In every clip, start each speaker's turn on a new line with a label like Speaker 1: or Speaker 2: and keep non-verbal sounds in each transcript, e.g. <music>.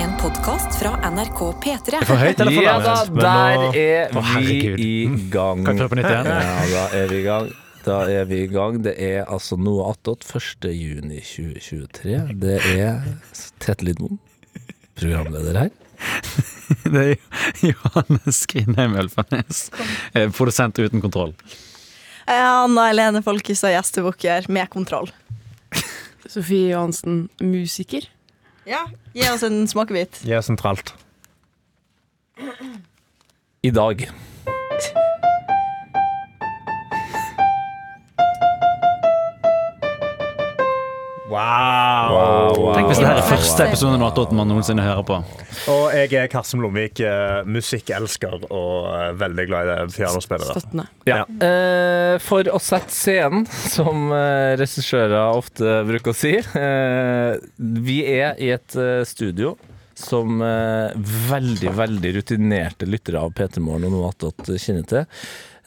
Speaker 1: En podkast fra NRK P3.
Speaker 2: For høyt eller for
Speaker 3: Ja da,
Speaker 2: lavt?
Speaker 4: <laughs>
Speaker 3: der er
Speaker 2: Å, herregud. Mm.
Speaker 3: vi i gang.
Speaker 2: Kan jeg prøve på nytt igjen?
Speaker 3: Ja, da er vi i gang. Da er vi i gang. Det er altså noe attåt 1. juni 2023. Det er Tete Lidmoen, programleder her.
Speaker 2: Det er Johannes Grindheim Ølfarnes, eh, produsent uten kontroll.
Speaker 5: Jeg er Anna Helene Folkestad, gjestebukker med kontroll.
Speaker 6: Sofie Johansen, musiker.
Speaker 5: Ja, Gi oss en smakebit.
Speaker 7: Gjør sentralt.
Speaker 3: I dag.
Speaker 7: Wow.
Speaker 2: Tenk hvis det her er
Speaker 5: Wow.
Speaker 2: første episode av Attåten man noensinne hører på.
Speaker 7: Og jeg er Karsten Blomvik, eh, musikkelsker og eh, veldig glad i pianospillere.
Speaker 6: Støttende.
Speaker 3: Ja. Eh, for å sette scenen, som eh, regissører ofte bruker å si. Eh, vi er i et eh, studio som eh, veldig, veldig rutinerte lyttere av P3 Morgen og noe attåt kjenner til.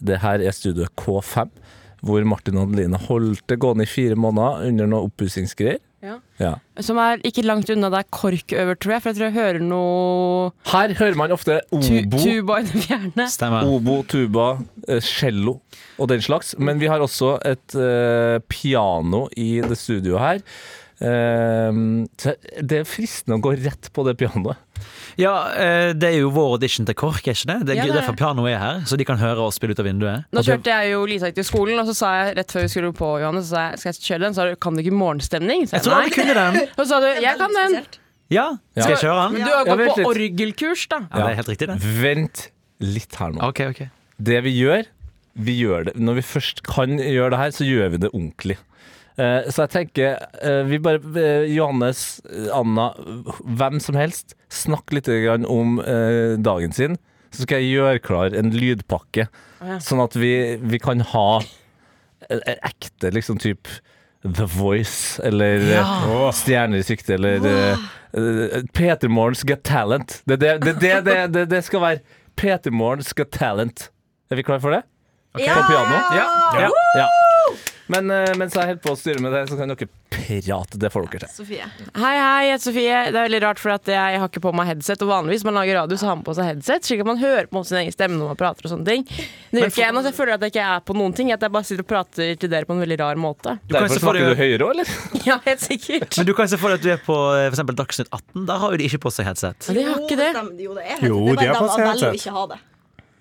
Speaker 3: Det her er studioet K5, hvor Martin og Adeline holdt det gående i fire måneder under noe oppussingsgreier.
Speaker 6: Ja.
Speaker 3: Ja.
Speaker 6: Som er ikke langt unna der KORK øver, tror jeg. For jeg tror jeg hører noe
Speaker 3: Her hører man ofte
Speaker 6: tu
Speaker 3: obo.
Speaker 6: tuba i det fjerne.
Speaker 2: Stemmer.
Speaker 3: Obo, tuba, eh, cello og den slags. Men vi har også et eh, piano i det studioet her. Ehm, så det er fristende å gå rett på det pianoet.
Speaker 4: Ja, eh, det er jo vår audition til KORK, er ikke det? Det er
Speaker 6: Ja,
Speaker 4: gøy-
Speaker 6: det er
Speaker 4: derfor pianoet er her, så de kan høre oss spille ut av vinduet.
Speaker 6: Nå kjørte jeg jo lydjakt til skolen, og så sa jeg rett før vi skulle på, Johannes, så sa jeg, skal jeg kjøre den? Så sa du, kan du ikke morgenstemning? Så
Speaker 4: Jeg tror alle kunne den.
Speaker 6: Og så sa du, jeg kan den.
Speaker 4: Ja, skal jeg kjøre den?
Speaker 6: Men du har
Speaker 3: Ja,
Speaker 6: jo
Speaker 3: vent
Speaker 6: gått
Speaker 3: litt.
Speaker 6: på orgelkurs, da.
Speaker 4: Ja, det er helt riktig, det.
Speaker 3: Vent litt her nå.
Speaker 4: Ok, ok.
Speaker 3: Det vi gjør, vi gjør det. Når vi først kan gjøre det her, så gjør vi det ordentlig. Eh, så jeg tenker eh, vi bare, eh, Johannes, eh, Anna, hvem som helst, snakk litt grann om eh, dagen sin. Så skal jeg gjøre klar en lydpakke,
Speaker 6: ja.
Speaker 3: sånn at vi, vi kan ha en, en ekte liksom type The Voice, eller eh, Stjerner i sikte, eller eh, eh, Peter Morgens Got Talent. Det, det, det, det, det, det, det skal være Peter Morgens Got Talent. Er vi klare for det? På piano?
Speaker 4: Ja, ja.
Speaker 3: Ja. Men eh, mens jeg holder på å styre med det, så kan dere prate. Det får dere til.
Speaker 5: Sofie.
Speaker 6: Hei, hei, jeg heter Sofie. Det er veldig rart, for at jeg har ikke på meg headset. Og vanligvis man lager radio, så har man på seg headset, slik at man hører på sin egen stemme når man prater og sånne ting. Nå gjør ikke jeg noe, så jeg føler at jeg ikke er på noen ting. At jeg bare sitter og prater til dere på en veldig rar måte.
Speaker 4: kan
Speaker 3: Derfor
Speaker 4: se for
Speaker 3: snakker
Speaker 4: deg-
Speaker 3: du høyere òg, eller?
Speaker 6: <laughs> Ja, helt sikkert.
Speaker 4: Men du kan se for deg at du er på eh, for eksempel Dagsnytt 18. Der har jo de ikke på seg headset.
Speaker 6: Men de har ikke det.
Speaker 5: stemmer. Jo, det er
Speaker 7: Jo,
Speaker 5: det.
Speaker 7: de
Speaker 5: er
Speaker 7: har
Speaker 5: bare
Speaker 7: fått
Speaker 5: de som
Speaker 7: seg
Speaker 5: velger å
Speaker 7: headset.
Speaker 5: ikke ha det.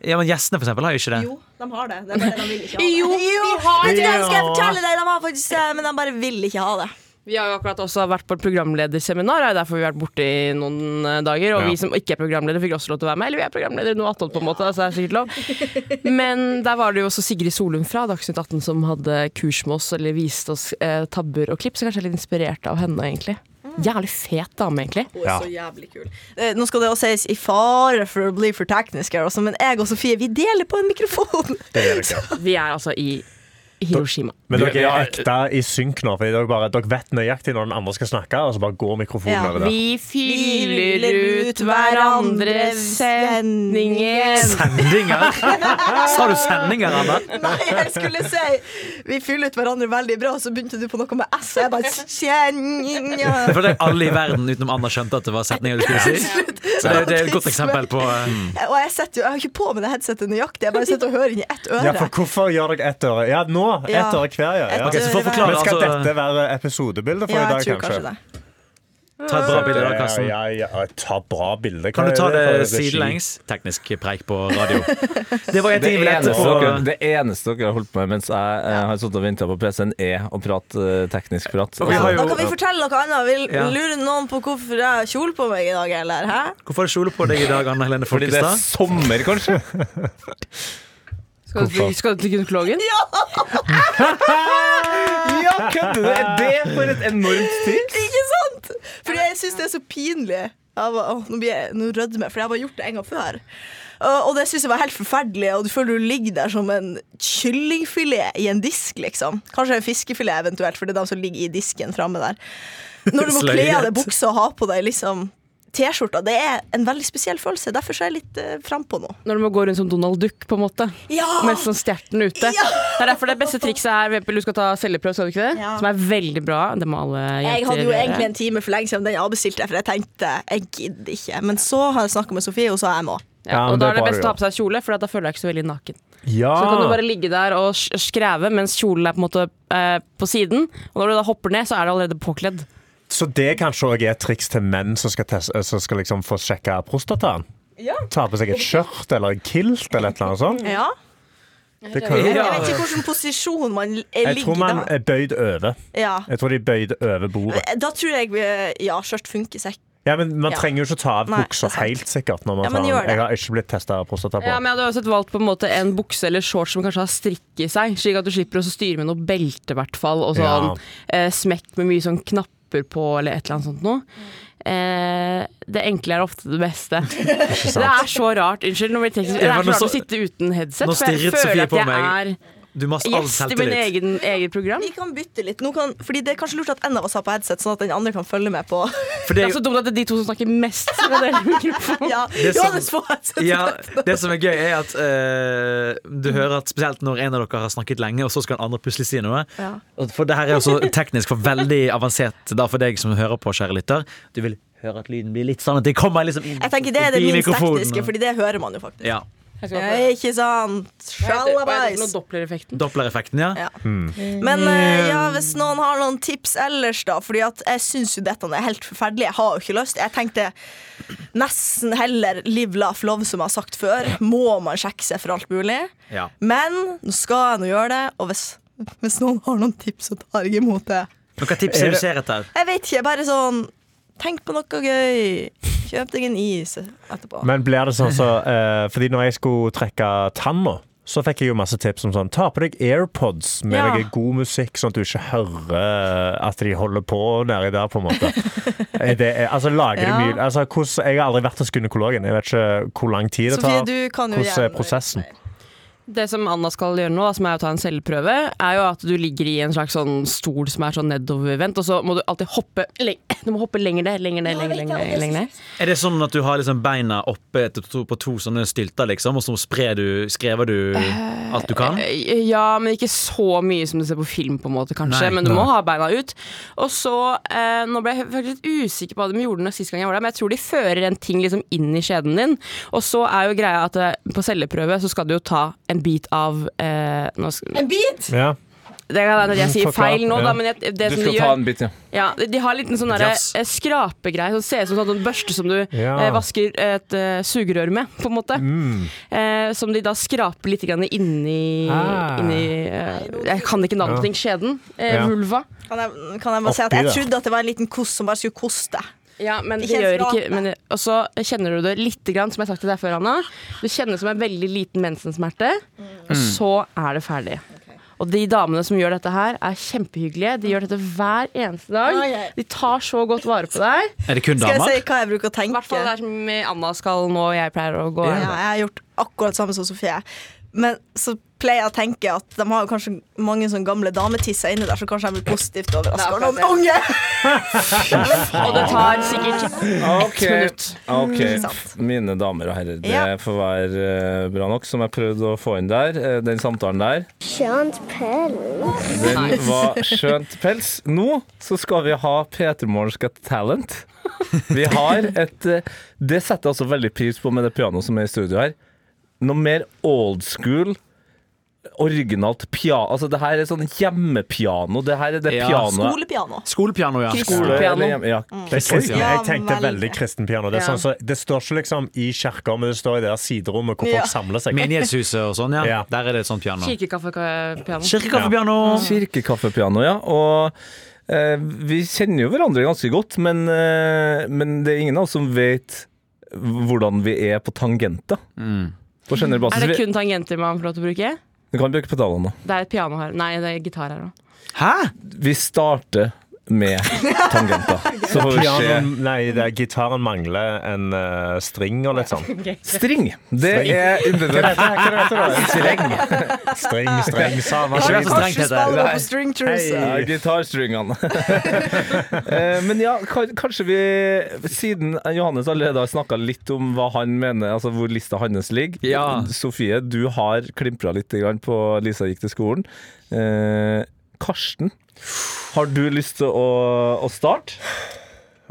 Speaker 4: Ja, men gjestene for eksempel har jo ikke det.
Speaker 5: Jo, de har det. Det er bare de vil ikke ha det.
Speaker 6: Jo, vi har
Speaker 5: Vet du hva,
Speaker 7: Ja.
Speaker 5: skal jeg fortelle deg? De har faktisk det, men de bare vil ikke ha det.
Speaker 6: Vi har jo akkurat også vært på et programlederseminar, det er derfor vi har vært borte i noen eh, dager. Og
Speaker 7: Ja.
Speaker 6: vi som ikke er programledere, fikk også lov til å være med. Eller vi er programledere nå, 18 på en måte, så det er sikkert lov. <laughs> Men der var det jo også Sigrid Solund fra Dagsnytt 18 som hadde kurs med oss, eller viste oss eh, tabber og klipp, så kanskje jeg er litt inspirert av henne, egentlig. Jævlig fet dame, egentlig.
Speaker 5: Hun er så jævlig kul. Eh, Nå skal det også sies i fare for å bli for teknisk her, også, men jeg og Sofie vi deler på en <laughs> mikrofon.
Speaker 7: Det gjør dere.
Speaker 6: Vi er altså i Hiroshima.
Speaker 7: Men
Speaker 3: Vi-
Speaker 7: dere
Speaker 3: ja,
Speaker 7: er ekte i synk nå, for dere, bare, dere vet nøyaktig når den andre skal snakke, og så bare går mikrofonen
Speaker 5: Ja,
Speaker 7: over der.
Speaker 6: Vi fyller ut hverandres sendingen.
Speaker 4: Sendinger! Sa du sendinger, Anna?
Speaker 5: Nei, jeg skulle si Vi fyller ut hverandre veldig bra, så begynte du på noe med S, og jeg bare kjenner
Speaker 4: Det er fordi alle i verden utenom Anna skjønte at det var setninger du skulle si. Så det, det er et godt eksempel på eh,
Speaker 5: Og jeg setter jo Jeg har ikke på meg det headsetet nøyaktig, jeg bare sitter og hører inn i ett
Speaker 7: Ja, for
Speaker 5: øre.
Speaker 7: hvorfor gjør dere ett øre? Ja, nå! Ett
Speaker 5: Ja.
Speaker 7: øre hver, ja. ja.
Speaker 5: Ett
Speaker 4: Ok, så for å
Speaker 5: øre
Speaker 4: forklare,
Speaker 7: Men skal
Speaker 4: altså,
Speaker 7: dette være episodebildet for
Speaker 5: Ja,
Speaker 7: i
Speaker 5: jeg
Speaker 7: dag,
Speaker 5: tror kanskje
Speaker 7: kanskje?
Speaker 5: det.
Speaker 4: Ta et bra bilde da, Karsten.
Speaker 7: Ja, ja, ja. Ta bra bilde.
Speaker 4: Kan du ta det
Speaker 7: sidelengs?
Speaker 4: sidelengs? Teknisk preik på radio. Det var et
Speaker 3: Det
Speaker 4: ivelig
Speaker 3: eneste,
Speaker 4: etter på
Speaker 3: dere, det eneste dere har holdt på med mens jeg eh, har sittet og venta på PC-en, er å prate eh, teknisk prat.
Speaker 4: Og vi har
Speaker 5: Da
Speaker 4: jo
Speaker 5: kan vi fortelle noe annet. Vil
Speaker 4: Ja.
Speaker 5: lurer noen på hvorfor jeg har kjole på meg i dag, eller? Hæ?
Speaker 4: Hvorfor har du kjole på deg i dag, Anna Helene
Speaker 3: Fordi det er
Speaker 4: Folkestad?
Speaker 3: sommer, kanskje?
Speaker 6: Skal du, skal du til gynekologen?
Speaker 3: ja, kødder du? Er det for et enormt tips?
Speaker 5: Ikke sant? Fordi jeg syns det er så pinlig. Jeg bare, åh, nå, blir jeg, nå rødmer jeg, for jeg har bare gjort det en gang før. Og- og det syns jeg var helt forferdelig. Og du føler du ligger der som en kyllingfilet i en disk, liksom. Kanskje en fiskefilet eventuelt, for det er de som ligger i disken framme der. Når du må
Speaker 4: Sløyet.
Speaker 5: kle av deg buksa og ha på deg liksom T-skjorta. Det er en veldig spesiell følelse. Derfor så er jeg litt eh, frampå nå.
Speaker 6: Når du må gå rundt som Donald Duck, på en måte.
Speaker 5: Ja!
Speaker 6: Med sånn stjerten ute.
Speaker 5: Ja!
Speaker 6: Det er derfor det beste trikset er for eksempel, Du skal ta celleprøve, skal du ikke det?
Speaker 5: Ja.
Speaker 6: Som er veldig bra. Det må alle jenter
Speaker 5: Jeg hadde jo
Speaker 6: gjøre.
Speaker 5: egentlig en time for lenge siden, den avbestilte jeg, for jeg tenkte jeg gidder ikke. Men så har jeg snakka med Sofie, og så har jeg må.
Speaker 6: ja,
Speaker 3: Ja,
Speaker 6: Og
Speaker 3: men
Speaker 6: da
Speaker 3: det
Speaker 6: er det
Speaker 3: var
Speaker 6: best
Speaker 3: jo. Ah.
Speaker 6: å ha på seg kjole, for da føler jeg ikke så veldig naken.
Speaker 3: Ja.
Speaker 6: Så kan du bare ligge der og sk- skreve mens kjolen er på en måte eh, på siden. Og når du da hopper ned, så er du allerede påkledd.
Speaker 7: Så det kanskje også er et triks til menn som skal, teste, som skal liksom få sjekka prostataen?
Speaker 5: Ja.
Speaker 7: Ta på seg et skjørt eller en kilt eller et eller annet sånt?
Speaker 5: Ja.
Speaker 7: Det kan jo
Speaker 5: Jeg vet ikke hvilken posisjon man eh,
Speaker 7: Jeg tror
Speaker 5: ligger
Speaker 7: man
Speaker 5: da.
Speaker 7: er bøyd over.
Speaker 5: Ja.
Speaker 7: Jeg tror de er bøyd over bordet.
Speaker 5: Da tror jeg eh, ja, skjørt funker sekk.
Speaker 7: Ja, men Man
Speaker 5: Ja.
Speaker 7: trenger jo ikke ta av
Speaker 5: Nei, det er
Speaker 7: buksa
Speaker 5: sant.
Speaker 7: helt sikkert. når man
Speaker 5: Ja,
Speaker 7: tar
Speaker 5: men
Speaker 7: den.
Speaker 5: gjør det.
Speaker 7: Jeg har ikke blitt testa prostata på.
Speaker 6: Ja, men Jeg hadde uansett valgt på en måte en bukse eller shorts som kanskje har strikk i seg, slik at du slipper å styre med noe belte, i hvert fall. Og sånn
Speaker 7: Ja.
Speaker 6: eh, smekk med mye sånn knapper på, eller et eller annet sånt noe. Eh, det enkle er ofte det
Speaker 4: <laughs>
Speaker 6: beste. Det er så rart. Unnskyld, nå blir det teknisk. Det
Speaker 4: Ja, men
Speaker 6: er så
Speaker 4: nå
Speaker 6: rart å
Speaker 4: så-
Speaker 6: sitte uten headset,
Speaker 4: nå
Speaker 6: for jeg
Speaker 4: stirret Sofie
Speaker 6: føler at
Speaker 4: på
Speaker 6: jeg
Speaker 4: meg.
Speaker 6: er
Speaker 4: Du må ha all
Speaker 6: gjest i min
Speaker 4: selvtillit.
Speaker 6: egen, eget program.
Speaker 5: Vi kan bytte litt. Nå kan, fordi Det er kanskje lurt at en av oss har på headset, sånn at den andre kan følge med på
Speaker 4: For
Speaker 6: Det
Speaker 4: det,
Speaker 6: er så dumt at det er de to som snakker mest, skal dele mikrofon.
Speaker 5: Ja,
Speaker 4: er sånn-
Speaker 5: Johannes får <laughs> headset.
Speaker 4: ja, det som er gøy, er at eh, du
Speaker 5: Mm.
Speaker 4: hører at spesielt når en av dere har snakket lenge, og så skal den andre plutselig si noe.
Speaker 5: Ja.
Speaker 4: Og For det her er
Speaker 5: <laughs>
Speaker 4: jo så teknisk for veldig avansert da for deg som hører på, kjære lytter. Du vil høre at lyden blir litt sånn at det kommer liksom inn
Speaker 5: Jeg tenker Det er det
Speaker 4: forbi
Speaker 5: minst
Speaker 4: mikrofonen.
Speaker 5: tekniske, Fordi det hører man jo faktisk.
Speaker 4: Ja.
Speaker 6: <laughs>
Speaker 5: Ja, ikke sant? Sjalabais.
Speaker 6: Dopplereffekten.
Speaker 4: Dopplereffekten, ja.
Speaker 5: Ja. Men eh, ja, hvis noen har noen tips ellers, da. Fordi at jeg syns jo dette er helt forferdelig. Jeg har jo ikke lyst. Jeg tenkte nesten heller live laugh love, som jeg har sagt før. Må man sjekke seg for alt mulig?
Speaker 4: Ja.
Speaker 5: Men nå skal jeg nå gjøre det. Og hvis, hvis noen har noen tips, så tar jeg imot det.
Speaker 4: Noen tips er du ser etter?
Speaker 5: Jeg vet ikke. Bare sånn Tenk på noe gøy. Kjøp deg en is etterpå.
Speaker 7: Men blir det sånn så eh, Fordi når jeg skulle trekke tanna, så fikk jeg jo masse tips om sånn Ta på deg AirPods med
Speaker 5: Ja.
Speaker 7: noe god musikk, sånn at du ikke hører eh, at de holder på nedi der, på en
Speaker 5: <laughs>
Speaker 7: måte. Er det, er- altså, lager
Speaker 5: Ja.
Speaker 7: det mye altså, hvordan, Jeg har aldri vært hos gynekologen. Jeg vet ikke hvor lang tid det
Speaker 5: Sofie,
Speaker 7: tar.
Speaker 5: du kan jo
Speaker 7: Hvordan er
Speaker 5: gjerne-
Speaker 7: prosessen?
Speaker 6: Det som Anna skal gjøre nå, da, som er å ta en celleprøve, er jo at du ligger i en slags sånn stol som er sånn nedovervendt, og så må du alltid hoppe leng <clears throat> Du må hoppe lenger ned, lenger ned, lenger, lenger, ned, lenger ned.
Speaker 4: Er det sånn at du har liksom beina oppe etter to, på to sånne stylter, liksom, og så sprer du, skrever du alt du kan?
Speaker 6: Eh, Ja, men ikke så mye som du ser på film, på en måte, kanskje.
Speaker 4: Nei,
Speaker 6: men du
Speaker 4: nei.
Speaker 6: må ha beina ut. Og så eh, Nå ble jeg faktisk litt usikker på hva de gjorde når sist gang jeg var der, men jeg tror de fører en ting liksom inn i skjeden din. Og så er jo greia at eh, på celleprøve så skal du jo ta en bit av eh, nå skal,
Speaker 5: En bit?
Speaker 7: Ja.
Speaker 6: Det kan hende at jeg sier
Speaker 7: Forklar,
Speaker 6: feil nå, da,
Speaker 7: ja.
Speaker 6: men jeg, det
Speaker 3: Du
Speaker 6: som de
Speaker 3: skal ta
Speaker 6: gjør
Speaker 3: en bit, ja.
Speaker 6: ja, de- De har en liten sånn derre,
Speaker 4: Jafs.
Speaker 6: eh, skrapegreie som ser ut som sånn, en børste som du
Speaker 7: Ja. Mm.
Speaker 6: eh, vasker et eh, sugerør med, på en måte. Eh, som de da skraper litt grann inni,
Speaker 7: Ah.
Speaker 6: inni eh, Jeg kan ikke navnet på ting. Skjeden. Eh,
Speaker 7: Ja.
Speaker 6: Vulva.
Speaker 5: Kan jeg, kan jeg bare si at
Speaker 7: Oppi
Speaker 5: jeg
Speaker 7: det.
Speaker 5: trodde at det var en liten kost som bare skulle koste.
Speaker 6: Ja, men det
Speaker 5: Ikke en
Speaker 6: gjør
Speaker 5: skrape.
Speaker 6: ikke men, eh, Og så kjenner du det lite grann, som jeg har sagt til deg før, Anna. Du kjenner det som en veldig liten mensensmerte, og
Speaker 7: Mm.
Speaker 6: så er det ferdig. Og de damene som gjør dette her, er kjempehyggelige. De gjør dette hver eneste dag.
Speaker 5: Ai, ai.
Speaker 6: De tar så godt vare på deg.
Speaker 4: Er det kun
Speaker 5: Skal jeg
Speaker 4: damer?
Speaker 5: si hva jeg bruker å
Speaker 6: I hvert
Speaker 5: tenke?
Speaker 6: fall der som Anna skal nå, og jeg pleier å gå.
Speaker 5: Ja, jeg har gjort akkurat samme som Sofie. Men så pleier jeg å tenke at de har jo kanskje mange sånne gamle dametisser inni der, så kanskje jeg blir positivt overraska over noen unge!
Speaker 6: Og det tar sikkert
Speaker 3: Ok.
Speaker 6: minutt. Mm.
Speaker 3: Ok,
Speaker 5: Ikke sant?
Speaker 3: Mine damer og herrer, det
Speaker 5: Ja.
Speaker 3: får være eh, bra nok, som jeg prøvde å få inn der. Eh, Den samtalen der,
Speaker 8: Skjønt pels.
Speaker 3: den var skjønt pels. Nå så skal vi ha P3 Morgens Got Talent. Vi har et eh, Det setter jeg også veldig pris på med det pianoet som er i studio her. Noe mer old school. Originalt piano Altså, det her er sånn hjemmepiano. Det her er det
Speaker 4: Ja.
Speaker 3: pianoet
Speaker 5: Skolepiano.
Speaker 4: Skolepiano, ja.
Speaker 6: Skole- Mm.
Speaker 3: eller hjemme- ja.
Speaker 7: Det er
Speaker 5: Ja,
Speaker 7: kristen, jeg tenkte
Speaker 5: veldig.
Speaker 7: veldig kristenpiano. Det, er
Speaker 6: Ja.
Speaker 7: sånn, så, det står ikke liksom i kirka, men det står i det der siderommet hvor
Speaker 5: Ja.
Speaker 7: folk samler seg.
Speaker 4: Menighetshuset og sånn, ja.
Speaker 7: Ja.
Speaker 4: Der er det et sånt piano.
Speaker 6: kirkekaffepiano.
Speaker 4: Kirkekaffepiano!
Speaker 3: Kirkekaffepiano, ja. Og eh, vi kjenner jo hverandre ganske godt, men, eh, men det er ingen av oss som vet hvordan vi er på tangenter. På generell
Speaker 6: Er
Speaker 3: basis.
Speaker 6: det
Speaker 3: Vi,
Speaker 6: kun tangenter man får lov til å bruke?
Speaker 3: vi kan bruke
Speaker 4: Mm.
Speaker 3: pedalene.
Speaker 6: Det er et piano her. Nei, det er gitar her òg.
Speaker 4: Hæ?!
Speaker 3: Vi starter med tangenter. Så får vi se.
Speaker 7: Pianoen, nei, det, er- gitaren mangler en eh, string og litt sånn.
Speaker 3: String! Det er undervurdert. Streng.
Speaker 5: <laughs>
Speaker 7: String, streng, samme.
Speaker 4: Ikke vær så
Speaker 5: Kanskje
Speaker 4: strengt, heter det.
Speaker 5: spiller
Speaker 3: Nei.
Speaker 5: på string trusa.
Speaker 3: Ja, gitarstringene. <laughs> Eh, Men ja, ka- kanskje vi Siden Johannes allerede har snakka litt om hva han mener, altså hvor lista hans ligger.
Speaker 2: Ja.
Speaker 3: Sofie, du har klimpra litt grann på Lisa gikk til skolen. Eh, Karsten, har du lyst til å, å starte?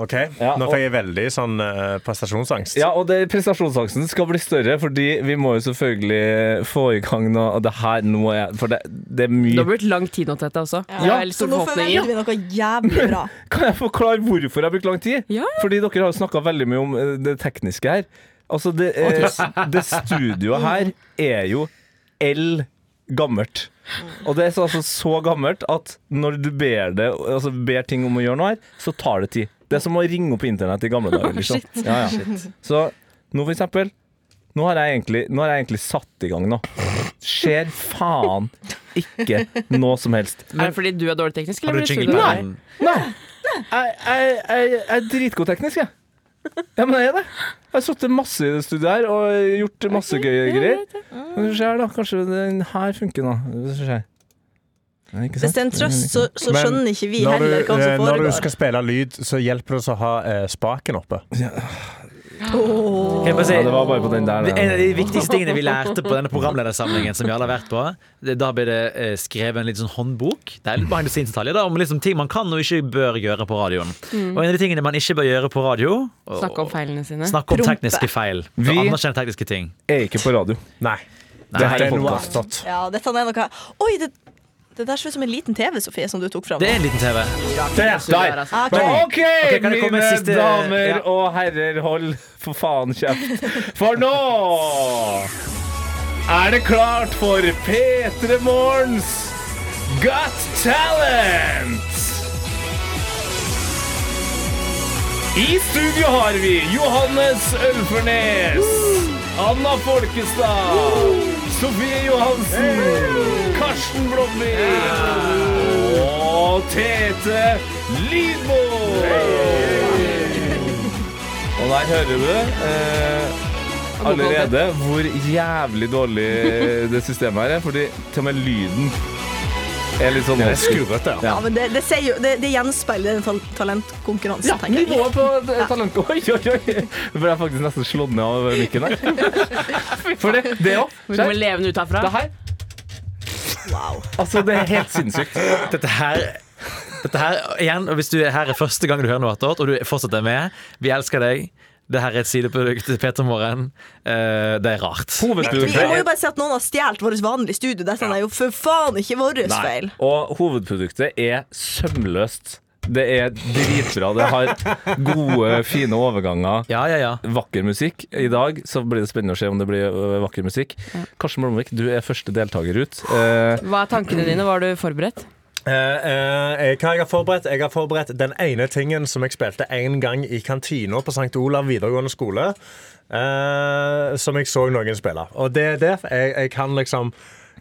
Speaker 7: Ok,
Speaker 3: Ja,
Speaker 7: Nå
Speaker 3: og-
Speaker 7: fikk jeg veldig sånn eh, prestasjonsangst.
Speaker 3: Ja, og det, prestasjonsangsten skal bli større, fordi vi må jo selvfølgelig få i gang noe og det her nå er, For det, det er
Speaker 6: Det har
Speaker 3: mye
Speaker 6: blitt lang tid nå til dette også. Det er veldig
Speaker 5: Så
Speaker 6: store
Speaker 5: nå forventer
Speaker 6: forhåpninger.
Speaker 5: vi noe jævlig bra.
Speaker 3: Kan jeg forklare hvorfor jeg brukte lang tid?
Speaker 6: Ja.
Speaker 3: Fordi dere har jo snakka veldig mye om eh, det tekniske her. Altså, det, eh, <laughs> det studioet her er jo L gammelt. Og det er så- altså så gammelt at når du ber, det, altså ber ting om å gjøre noe her, så tar det tid. Det er som å ringe opp internett i gamle dager. Liksom. Ja, ja. Så nå for eksempel nå har, jeg egentlig, nå har jeg egentlig satt i gang nå. Skjer faen ikke noe som helst.
Speaker 6: Er det fordi du er dårlig teknisk?
Speaker 2: Har du
Speaker 6: Eller blir det
Speaker 2: jingle
Speaker 6: studio?
Speaker 2: på den?
Speaker 3: Jeg, jeg, jeg, jeg er dritgod teknisk, jeg. Ja, men jeg er det. Jeg har sittet masse i det studioet her og gjort masse gøye greier. Hva skjer da? Kanskje den her funker nå. Hva skjer? Nei, Ikke
Speaker 5: Hvis
Speaker 3: sant?
Speaker 5: det er en trøst, så, så
Speaker 7: Men
Speaker 5: skjønner ikke vi
Speaker 7: Når du,
Speaker 5: heller hva
Speaker 7: eh,
Speaker 5: som
Speaker 7: når du
Speaker 5: foregår.
Speaker 7: skal spille lyd, så hjelper det oss å ha eh, spaken oppe.
Speaker 4: Kan jeg bare si,
Speaker 3: Ja, det var bare på den der.
Speaker 4: det- en
Speaker 3: da.
Speaker 4: av de
Speaker 6: <laughs>
Speaker 4: viktigste tingene vi lærte på denne programledersamlingen, som vi alle har vært på, det, da ble det eh, skrevet en liten sånn håndbok. Det er litt behind the scenes-detaljer da, om liksom ting man kan og ikke bør gjøre på radioen. Og en av de tingene man ikke bør gjøre på radio og-
Speaker 6: Snakke Mm. om feilene sine.
Speaker 4: Snakk om
Speaker 5: Prompe.
Speaker 4: tekniske feil.
Speaker 3: Vi-
Speaker 4: Og anerkjenne tekniske ting.
Speaker 3: Jeg er ikke på radio.
Speaker 7: Nei.
Speaker 3: Det her
Speaker 7: Dette
Speaker 3: er
Speaker 7: er noe
Speaker 3: podcast.
Speaker 7: annet.
Speaker 5: Ja, dette er noe Oi, det, det der ser ut som en liten TV, Sofie, som du tok fram.
Speaker 4: Det er en liten TV.
Speaker 3: Der!
Speaker 5: Ah, ok.
Speaker 3: OK,
Speaker 4: kan det komme
Speaker 3: mine
Speaker 4: en siste-
Speaker 3: damer
Speaker 4: ja.
Speaker 3: og herrer, hold for faen kjeft. For nå er det klart for P3 Morgens Got Talent! I studio har vi Johannes Ølfernes, Anna Folkestad, Sofie Johansen, Karsten Blomvik og Tete Lidmo. Og der hører du eh, allerede hvor jævlig dårlig det systemet her er, fordi til og med lyden er litt sånn
Speaker 7: Det er skurrete.
Speaker 5: Ja, men det, det, sier jo, det, det gjenspeiler den tal talentkonkurransen,
Speaker 3: Ja,
Speaker 5: tenker jeg.
Speaker 3: nivået på talentet Oi, oi, oi! Nå ble jeg faktisk nesten slått ned av mikken her.
Speaker 5: <laughs>
Speaker 3: For det, det òg.
Speaker 6: Vi kommer levende ut herfra.
Speaker 3: Det her. Altså, det er helt sinnssykt.
Speaker 4: Dette her dette her, igjen, og Hvis du er her er første gang du hører noe attåt, og du fortsatt er med, vi elsker deg. Dette er et sideprodukt til Peter Morgen. Eh, det er rart.
Speaker 5: Vi må jo
Speaker 3: Hovedproduktet,
Speaker 5: bare si at noen har stjålet vårt vanlige studio. Dette er jo for faen ikke vår feil.
Speaker 3: og hovedproduktet er sømløst. Det er dritbra. Det har gode, fine overganger.
Speaker 4: Ja, ja, ja.
Speaker 3: Vakker musikk. I dag så blir det spennende å se om det blir ø, vakker musikk. Karsten Blomvik, du er første deltaker ut. Eh,
Speaker 6: Hva er tankene dine? Var du forberedt?
Speaker 7: Eh, eh, jeg- hva jeg har forberedt? Jeg har forberedt den ene tingen som jeg spilte en gang i kantina på St. Olav videregående skole. eh, som jeg så noen spille. Og det er det. Jeg, jeg kan liksom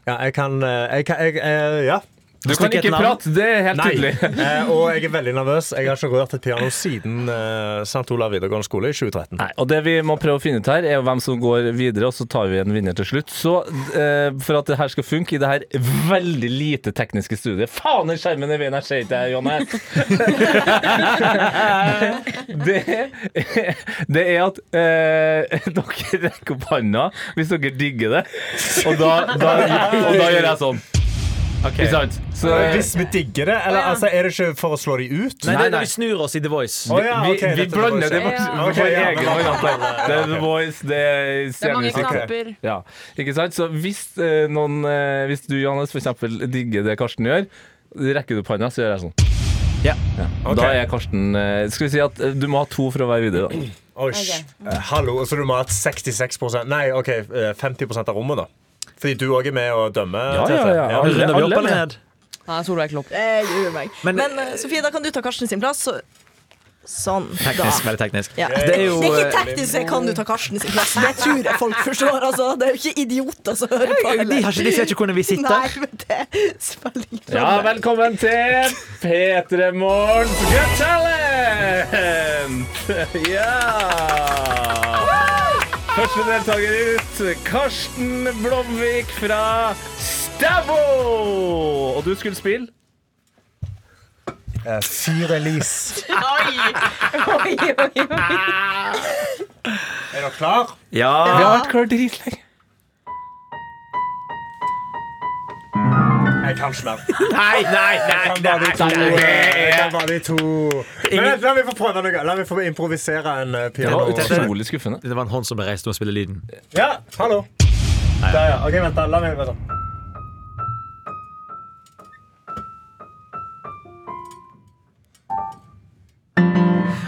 Speaker 7: Ja, jeg kan, eh, jeg kan jeg, eh, Ja.
Speaker 3: du kan ikke prate, det <laughs> er helt tydelig.
Speaker 7: Eh, og jeg er veldig nervøs. Jeg har ikke rørt et piano siden eh, St. Olav videregående skole i 2013.
Speaker 3: Nei, og Det vi må prøve å finne ut her, er jo hvem som går videre, og så tar vi en vinner til slutt. Så eh, for at det her skal funke i det her veldig lite tekniske studiet Faen, den skjermen i veien her ser ikke jeg, Johannes! <laughs> det, er- det er at eh, <laughs> dere rekker opp handa hvis dere digger det, og da, da, og da gjør jeg sånn. Ikke sant? Så,
Speaker 7: Eh, Hvis vi digger det, eller altså, er det ikke for å slå de ut?
Speaker 4: Nei, det er
Speaker 3: nei.
Speaker 4: når vi snur oss i The Voice.
Speaker 7: Å ja,
Speaker 3: vi,
Speaker 7: ok,
Speaker 3: vi
Speaker 7: dette var
Speaker 3: blander det
Speaker 7: ikke-
Speaker 3: på
Speaker 6: Ja.
Speaker 3: på
Speaker 7: Ok, ja,
Speaker 3: egen
Speaker 7: men-
Speaker 3: hånd. Det er The
Speaker 7: Ok.
Speaker 3: Voice, det er
Speaker 6: Det er mange
Speaker 3: stjernemusikk.
Speaker 6: knapper.
Speaker 3: Ja, ikke sant? Så hvis, eh, noen, eh, hvis du, Johannes, for eksempel digger det Karsten gjør, rekker du opp handa, så gjør jeg sånn.
Speaker 4: Ja.
Speaker 7: Ok.
Speaker 3: Da er Karsten eh, Skal vi si at eh, du må ha to for å være videre, da.
Speaker 7: Oi, sh- eh, hallo, så du må ha hatt 66 Nei, OK, eh, 50 av rommet, da. Fordi du òg er med og dømmer?
Speaker 3: Ja, ja,
Speaker 7: Tete.
Speaker 3: ja.
Speaker 4: Ja, Runder vi opp
Speaker 3: Alle er
Speaker 4: eller
Speaker 3: med.
Speaker 4: ned?
Speaker 6: Ja, Solveig Klopp.
Speaker 5: Det gruer meg.
Speaker 4: Men-
Speaker 5: Men, eh, Sofie, da kan du ta Karsten sin plass. Så Sånn.
Speaker 4: Teknisk,
Speaker 5: da.
Speaker 4: veldig teknisk.
Speaker 5: Ja.
Speaker 4: Det er jo
Speaker 5: det er
Speaker 4: eh,
Speaker 5: ikke teknisk jeg kan du ta Karsten sin plass. Det tror jeg folk forstår. Altså. Det er jo ikke idioter som hører på.
Speaker 4: de, har ikke, de ser ikke hvordan vi
Speaker 5: Nei,
Speaker 4: sitter.
Speaker 5: men det spiller ingen
Speaker 3: Ja, velkommen til P3 Morgens Got Talent! <laughs> Ja! Første deltaker ut, Karsten Blomvik fra Stavo! Og du skulle spille?
Speaker 7: Eh, Fyr-Elise.
Speaker 5: <laughs> Oi, oi, oi.
Speaker 7: Er dere klar?
Speaker 3: Vi
Speaker 4: Ja,
Speaker 3: har vært klar dritlenge.
Speaker 7: Jeg kan ikke mer.
Speaker 4: nei, nei, nei,
Speaker 7: Kan
Speaker 4: nei,
Speaker 7: bare de to. eh, Kan bare de to. Men vent, la meg få prøve noe. La meg få improvisere en eh,
Speaker 3: Det
Speaker 7: piano.
Speaker 3: var utrolig skuffende.
Speaker 4: Det var en hånd som ble reist og spille lyden.
Speaker 7: Ja, hallo. Der, ja. OK, vent. da, La meg vent. da.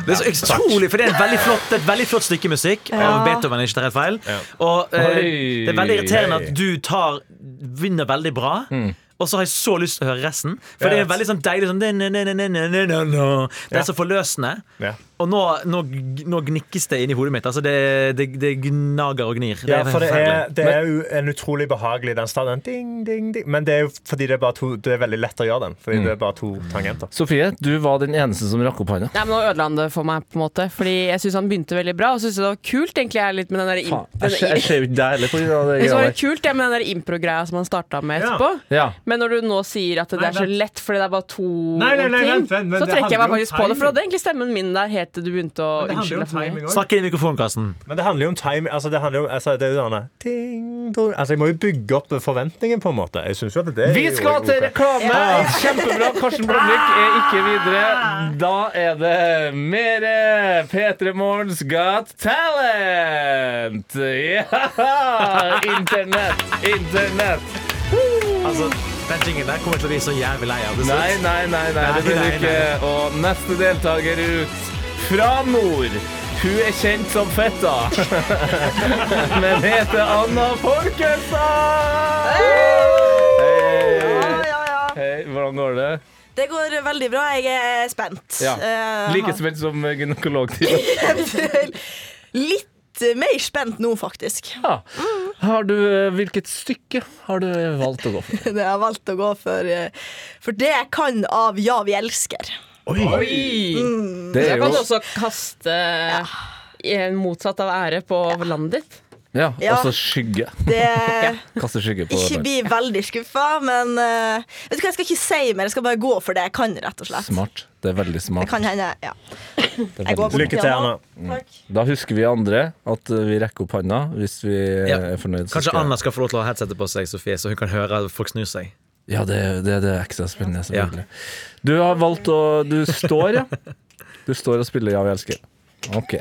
Speaker 4: Det er så utrolig, for det er en veldig flott, det er et veldig flott stykke musikk av Beethoven. er ikke det helt feil Og eh,
Speaker 3: Oi.
Speaker 4: Det er veldig irriterende at du tar vinner veldig bra.
Speaker 7: Mm.
Speaker 4: Og så har jeg så lyst til å høre resten. For det er veldig sånn deilig sånn «na-na-na-na-na-na-na». Det er så forløsende.
Speaker 7: Ja.
Speaker 4: Og nå, nå, nå gnikkes det inni hodet mitt. Altså det, det, det gnager og gnir.
Speaker 7: Ja, for det er,
Speaker 4: forferdelig.
Speaker 7: det er jo en utrolig behagelig den starten. Ding, ding, ding. Men det er jo fordi det er, bare to, det er veldig lett å gjøre den. Fordi det er bare to tangenter.
Speaker 3: Sofie, du var den eneste som rakk opp hånda.
Speaker 6: Nei, men Nå ødela han det for meg, på en måte. Fordi jeg syns han begynte veldig bra. Og synes det var kult, egentlig, jeg er litt med den der
Speaker 3: Faen,
Speaker 6: imp-
Speaker 3: Jeg ser- jeg
Speaker 6: den-
Speaker 3: ser jo ikke deg heller på grunn av det
Speaker 6: Jeg synes <laughs> det var
Speaker 3: greia
Speaker 6: litt kult, jeg, med den der impro-greia som han starta med
Speaker 7: Ja.
Speaker 6: etterpå.
Speaker 3: der. Ja.
Speaker 6: Men når du nå sier at det er så lett fordi det er bare to
Speaker 7: Nei, nei, nei,
Speaker 6: ting,
Speaker 7: vent, vent, vent,
Speaker 6: så
Speaker 7: det
Speaker 6: trekker jeg meg
Speaker 7: handler jo
Speaker 6: faktisk
Speaker 7: om
Speaker 6: på det. For da
Speaker 7: timing.
Speaker 6: hadde egentlig stemmen min der helt til du begynte å unnskylde for meg.
Speaker 4: Snakk inn i mikrofonen, Karsten.
Speaker 7: Men det handler jo om time altså det handler jo, altså det er jo denne, ting, dong. altså Jeg må jo bygge opp forventningen, på en måte. Jeg synes jo at det er
Speaker 3: Vi
Speaker 7: jo
Speaker 3: skal
Speaker 7: ok.
Speaker 3: til reklame! Kjempebra. Karsten Blomvik er ikke videre. Da er det mere P3 Morgens Got Talent! Ja! Internett, internett.
Speaker 4: Altså, den jingen der kommer jeg til å bli så jævlig lei av. til slutt.
Speaker 3: Nei, nei, nei, nei, det blir
Speaker 4: Nei,
Speaker 3: det
Speaker 4: nei,
Speaker 3: ikke. Og neste deltaker ut fra nord. Hun er kjent som Fetta, <laughs> men heter Anna Folkestad! Hei!
Speaker 5: Ja, ja, ja.
Speaker 3: Hei, hvordan går det?
Speaker 5: Det går veldig bra. Jeg er spent.
Speaker 3: Ja.
Speaker 5: Eh, <laughs>
Speaker 3: Like spent som gynekologtime.
Speaker 5: Litt mer spent nå, <laughs> faktisk.
Speaker 3: Ja. Har du, eh, hvilket stykke har du valgt å gå for?
Speaker 5: Jeg har valgt å gå for, eh, for det jeg kan av Ja, vi elsker. Mm.
Speaker 3: Det
Speaker 6: Mm. Da kan du også kaste eh, motsatt av ære på landet ditt.
Speaker 3: ja,
Speaker 5: Ja.
Speaker 3: altså skygge.
Speaker 5: <laughs> Det
Speaker 3: Kaste skygge på
Speaker 5: Ikke
Speaker 3: den.
Speaker 5: bli veldig skuffa, men eh, vet du hva, jeg skal ikke si mer. Jeg skal bare gå for det jeg kan, rett og slett.
Speaker 3: Smart. Det er veldig
Speaker 5: Det
Speaker 3: smart.
Speaker 5: kan hende. Ja.
Speaker 3: Det
Speaker 5: Jeg
Speaker 3: er
Speaker 5: går
Speaker 3: veldig.
Speaker 5: bort
Speaker 7: Lykke til, Anna.
Speaker 5: Takk.
Speaker 3: Da husker vi andre at eh, vi rekker opp handa hvis vi eh,
Speaker 4: Ja.
Speaker 3: er fornøyd. så
Speaker 4: Kanskje
Speaker 3: skal-
Speaker 4: Anna skal få lov til å ha headsetet på seg, Sofie, så hun kan høre at folk snur seg.
Speaker 3: Ja, det, det, det er ekstra spennende, selvfølgelig. Du har valgt å Du står,
Speaker 4: <laughs>
Speaker 3: ja. Du står og spiller Ja, vi elsker. OK.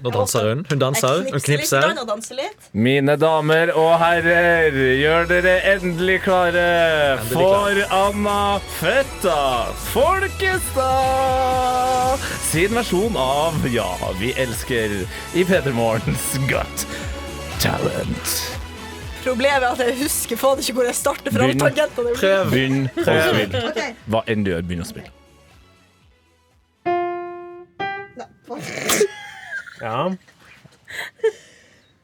Speaker 4: Nå danser hun. Hun danser, hun knipser.
Speaker 5: litt og danser litt.
Speaker 3: Mine damer og herrer, gjør dere endelig klare for
Speaker 4: klare.
Speaker 3: Anna Føtta Folkestad sin versjon av Ja, vi elsker i Peter Morgens Got Talent.
Speaker 5: Problemet er at jeg husker faen ikke hvor jeg starter fra.
Speaker 3: Begynn.
Speaker 5: tangentene jeg blir.
Speaker 3: Begynn å spille.
Speaker 5: Ok.
Speaker 3: Hva enn du gjør, begynn å spille.
Speaker 7: Ja.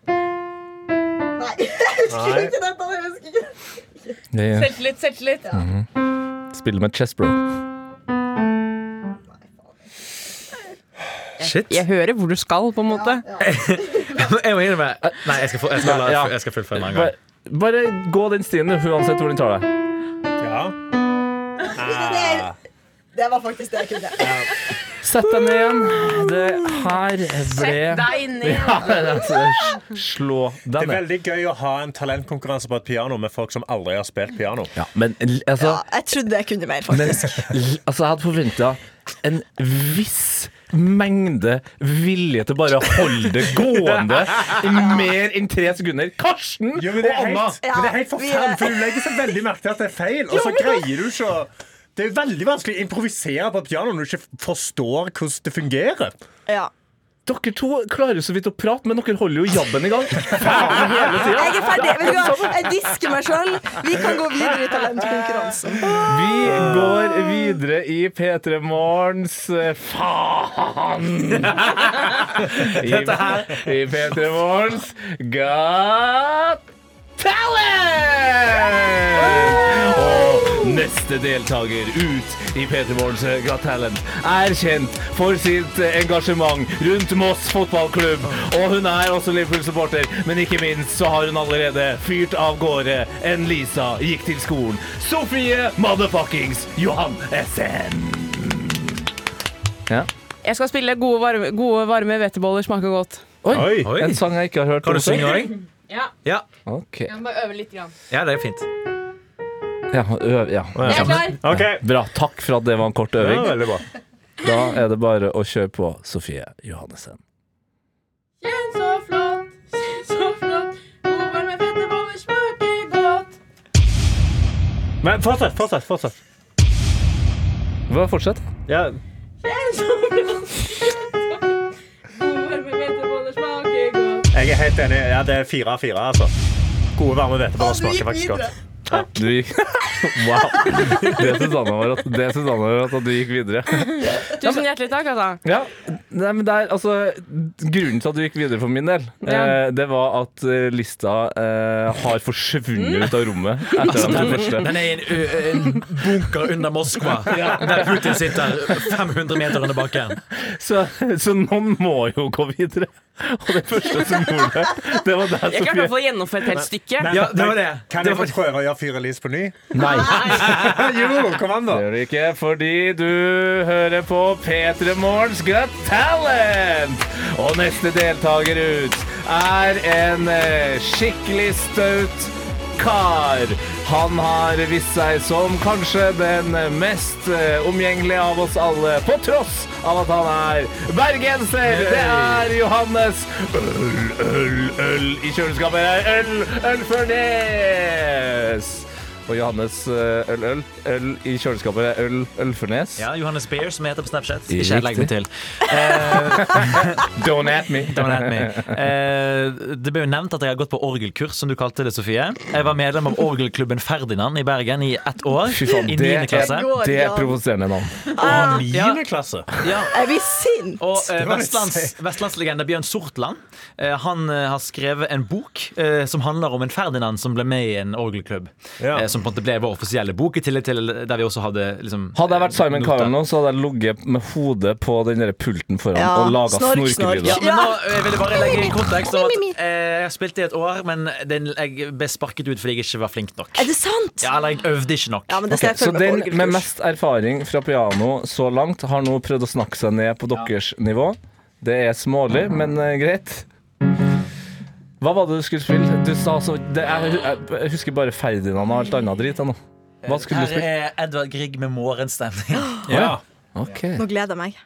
Speaker 5: Nei, jeg husker
Speaker 7: Nei.
Speaker 5: ikke dette. Jeg husker ikke.
Speaker 3: Det-
Speaker 6: Selvtillit, selvtillit.
Speaker 3: Spill med chess, bro.
Speaker 4: Shit.
Speaker 6: Jeg hører hvor du skal, på en måte.
Speaker 4: <laughs> Jeg må innrømme Nei, jeg skal, få, jeg skal, la,
Speaker 3: Eh, Ja.
Speaker 4: jeg skal fullføre meg en gang.
Speaker 3: Bare, bare gå den stien, du, uansett hvor den tar deg.
Speaker 7: ja.
Speaker 5: Det var faktisk det jeg kunne.
Speaker 3: Sett deg ned igjen. Det her ble
Speaker 6: deg ned.
Speaker 3: Ja, altså, slå
Speaker 7: Det
Speaker 3: deg
Speaker 7: er
Speaker 3: ned.
Speaker 7: veldig gøy å ha en talentkonkurranse på et piano med folk som aldri har spilt piano.
Speaker 3: Ja, men l- altså,
Speaker 5: Ja, jeg trodde jeg kunne mer, faktisk.
Speaker 3: l- altså jeg hadde forventa en viss mengde vilje til bare å holde det gående i mer enn tre sekunder. Karsten
Speaker 7: Jo,
Speaker 3: og Anna!
Speaker 5: Ja, men det er helt vi er- forferdelig, for
Speaker 7: du legger seg veldig merke til at det er feil, og så greier du ikke å Det er veldig vanskelig å improvisere på et piano når du ikke forstår hvordan det fungerer.
Speaker 5: Ja.
Speaker 3: Dere to klarer jo så vidt å prate, men dere holder jo jabben i gang. Faen, hele tiden.
Speaker 5: Jeg er ferdig. Vet du hva? Jeg disker meg sjøl. Vi kan gå videre i talentkonkurransen.
Speaker 3: Vi går videre i P3 Morgens eh,
Speaker 5: <laughs>
Speaker 3: Faen! I, i P3 Morgens Got Talent! Og neste deltaker ut i P3 Morgens eh, Got Talent er kjent for sitt eh, engasjement rundt Moss fotballklubb. Og hun er også Liverpool-supporter, men ikke minst så har hun allerede fyrt av gårde en Lisa gikk til skolen. Sofie motherfuckings Johan Essen. Ja.
Speaker 6: Jeg skal spille gode varme, gode, varme hveteboller smaker godt.
Speaker 3: Oi,
Speaker 4: Oi.
Speaker 3: en sånn sang jeg ikke har hørt.
Speaker 4: Kan
Speaker 3: om
Speaker 4: du synge
Speaker 3: før.
Speaker 4: òg?
Speaker 6: Ja,
Speaker 4: Ja.
Speaker 3: Ok.
Speaker 6: jeg må bare øve litt. Grann.
Speaker 4: ja, det er fint.
Speaker 3: Ja, øv, ja.
Speaker 6: Jeg er klar.
Speaker 7: OK.
Speaker 3: Bra. Takk for at det var en kort
Speaker 7: Det var
Speaker 3: øving.
Speaker 7: veldig bra.
Speaker 3: Da er det bare å kjøre på Sofie Johannessen.
Speaker 9: Kjenn så flott, kjenn så flott. Gode varme fetteboller smaker godt.
Speaker 7: Men fortsett, fortsett. fortsett.
Speaker 3: Hva fortsett?
Speaker 7: Ja,
Speaker 9: Kjenn så flott, kjenn så flott. Gode varme fetteboller smaker godt.
Speaker 7: jeg er helt enig. Ja, det er fire av fire, altså. Gode, varme hveteboller
Speaker 5: Å, du gikk
Speaker 7: smaker faktisk
Speaker 5: videre.
Speaker 7: godt.
Speaker 3: Du gikk <laughs> Wow. Det Susanne var at, det Susanne var at du gikk videre.
Speaker 6: Tusen hjertelig takk. Altså.
Speaker 3: Ja, nei, men det er, altså, Grunnen til at du gikk videre for min del,
Speaker 6: Ja.
Speaker 3: eh, det var at eh, lista eh, har forsvunnet ut av rommet etter Altså, den
Speaker 6: <laughs>
Speaker 3: første.
Speaker 4: Den er i en, ø- ø- en bunker under
Speaker 3: <laughs>
Speaker 4: Moskva, der Putin sitter 500 meter under bakken.
Speaker 3: Så, så noen må jo gå videre. Og det første som gjorde det, det var deg,
Speaker 6: Jeg klarte i
Speaker 3: Sofie.
Speaker 6: hvert fall å gjennomføre et helt stykke.
Speaker 4: Ja, det var det.
Speaker 7: Kan
Speaker 4: Det
Speaker 7: jeg
Speaker 4: var
Speaker 7: få prøve å gjøre Fyr Elise på ny?
Speaker 3: Nei.
Speaker 7: <laughs> Jo, kom an, da.
Speaker 3: Det gjør du ikke, fordi du hører på P3 Morgens Got Talent! Og neste deltaker ut er en eh, skikkelig staut kar. Han har vist seg som kanskje den mest eh, omgjengelige av oss alle, på tross av at han er bergenser. Det er Johannes Øl, øl, øl i kjøleskapet. Det er Øl, øl Ølfernes! Og Johannes eh, øl, øl, øl i kjøleskapet. Det er Øl, Ølfernes.
Speaker 4: Ja, Johannes Beer, som heter på Snapchat.
Speaker 3: Riktig.
Speaker 4: Ikke legg meg til.
Speaker 3: Don't at me.
Speaker 4: Don't at me. Eh, det ble jo nevnt at jeg har gått på orgelkurs, som du kalte det, Sofie. Jeg var medlem av orgelklubben Ferdinand i Bergen i ett år.
Speaker 3: Fy faen,
Speaker 4: I
Speaker 3: det er-
Speaker 4: niende klasse.
Speaker 5: går
Speaker 3: Det er
Speaker 5: ikke an.
Speaker 3: provoserende navn.
Speaker 4: Ja.
Speaker 7: klasse.
Speaker 4: Ja,
Speaker 5: Jeg blir sint.
Speaker 4: Og eh,
Speaker 7: Det var litt
Speaker 4: Vestlands, vestlandslegende Bjørn Sortland eh, Han eh, har skrevet en bok eh, som handler om en Ferdinand som ble med i en orgelklubb.
Speaker 7: Ja.
Speaker 4: Eh, som på en måte ble vår offisielle bok, i tillegg til der vi også hadde liksom,
Speaker 3: Hadde jeg vært Simon
Speaker 4: noter.
Speaker 3: Cowell nå, så hadde jeg ligget med hodet på den der pulten foran
Speaker 5: Ja,
Speaker 3: og laga
Speaker 5: snork, snork.
Speaker 3: snorkelyder.
Speaker 4: Ja, men
Speaker 5: Ja.
Speaker 4: nå eh, vil jeg bare legge inn kontekst om at eh, jeg har spilt i et år, men den, jeg ble sparket ut fordi jeg ikke var flink nok.
Speaker 5: Er det sant?
Speaker 4: Ja, eller jeg øvde ikke nok.
Speaker 5: Ja, men det skal jeg
Speaker 3: Så
Speaker 5: følge
Speaker 3: den
Speaker 5: med på
Speaker 3: med
Speaker 5: orgelkurs.
Speaker 3: mest erfaring fra piano så langt har nå prøvd å snakke seg ned på deres nivå. Det er smålig, men eh, greit. Hva var det du skulle spille? Du sa altså det, jeg, jeg husker bare Ferdinand og alt annet drit. jeg nå. Hva skulle
Speaker 4: Her
Speaker 3: du spille?
Speaker 4: er Edvard Grieg med morgenstemning.
Speaker 3: Ja. Ok.
Speaker 5: Nå gleder jeg meg.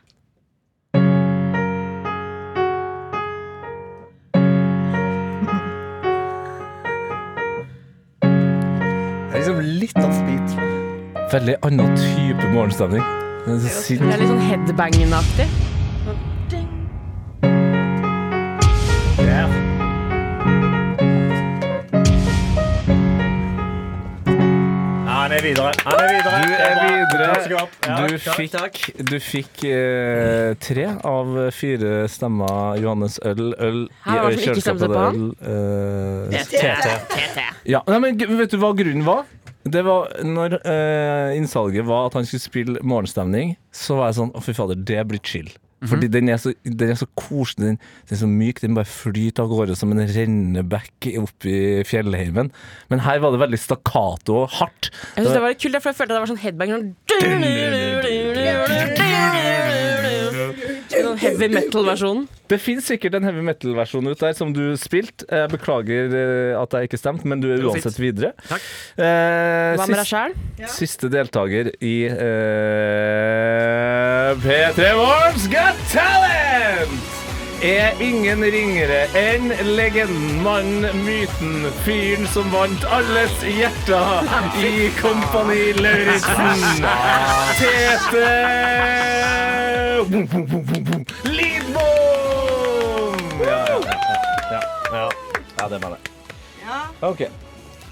Speaker 7: Det er liksom litt av speed.
Speaker 3: Veldig annen type morgenstemning. Det er så
Speaker 6: Det
Speaker 3: sint.
Speaker 6: er litt sånn headbanging-aktig.
Speaker 7: Der. Ja, han er videre. Han er videre.
Speaker 3: Du er
Speaker 7: Det bra. Takk skal
Speaker 3: videre.
Speaker 7: opp. Ja,
Speaker 3: Du
Speaker 7: takk,
Speaker 3: fikk,
Speaker 7: takk.
Speaker 3: du fikk eh, tre av fire stemmer Johannes Øl, øl i
Speaker 6: Her var det som ikke stemte
Speaker 3: kjøleskapet
Speaker 6: på
Speaker 3: øl, eh, ja. Nei, men gu- Vet du hva grunnen var? Det var Når eh, innsalget var at han skulle spille morgenstemning, så var jeg sånn Å, fy fader, det blir chill.
Speaker 7: Mhm.
Speaker 3: Fordi den er, så, den er så koselig, den, den er så myk, den bare flyter av gårde som en rennebekk opp i fjellheimen. Men her var det veldig stakkato og hardt.
Speaker 6: Jeg synes det var litt kult, for jeg følte det var sånn headbanging. Sånn heavy metal-versjonen.
Speaker 3: Det fins sikkert en heavy metal-versjon ut der som du spilte. Jeg beklager eh, at jeg ikke stemte, men du er
Speaker 4: var
Speaker 3: uansett
Speaker 4: fint.
Speaker 3: videre.
Speaker 4: Takk.
Speaker 3: Eh,
Speaker 6: Hva med deg
Speaker 3: sist-
Speaker 6: sjæl?
Speaker 3: Siste deltaker i eh, P3 Morgens Got Talent er ingen ringere enn legenden, mannen, myten, fyren som vant alles hjerter i Kompani Lauritzen. Tete Lidbom! ferdig med det.
Speaker 5: Ja.
Speaker 3: OK.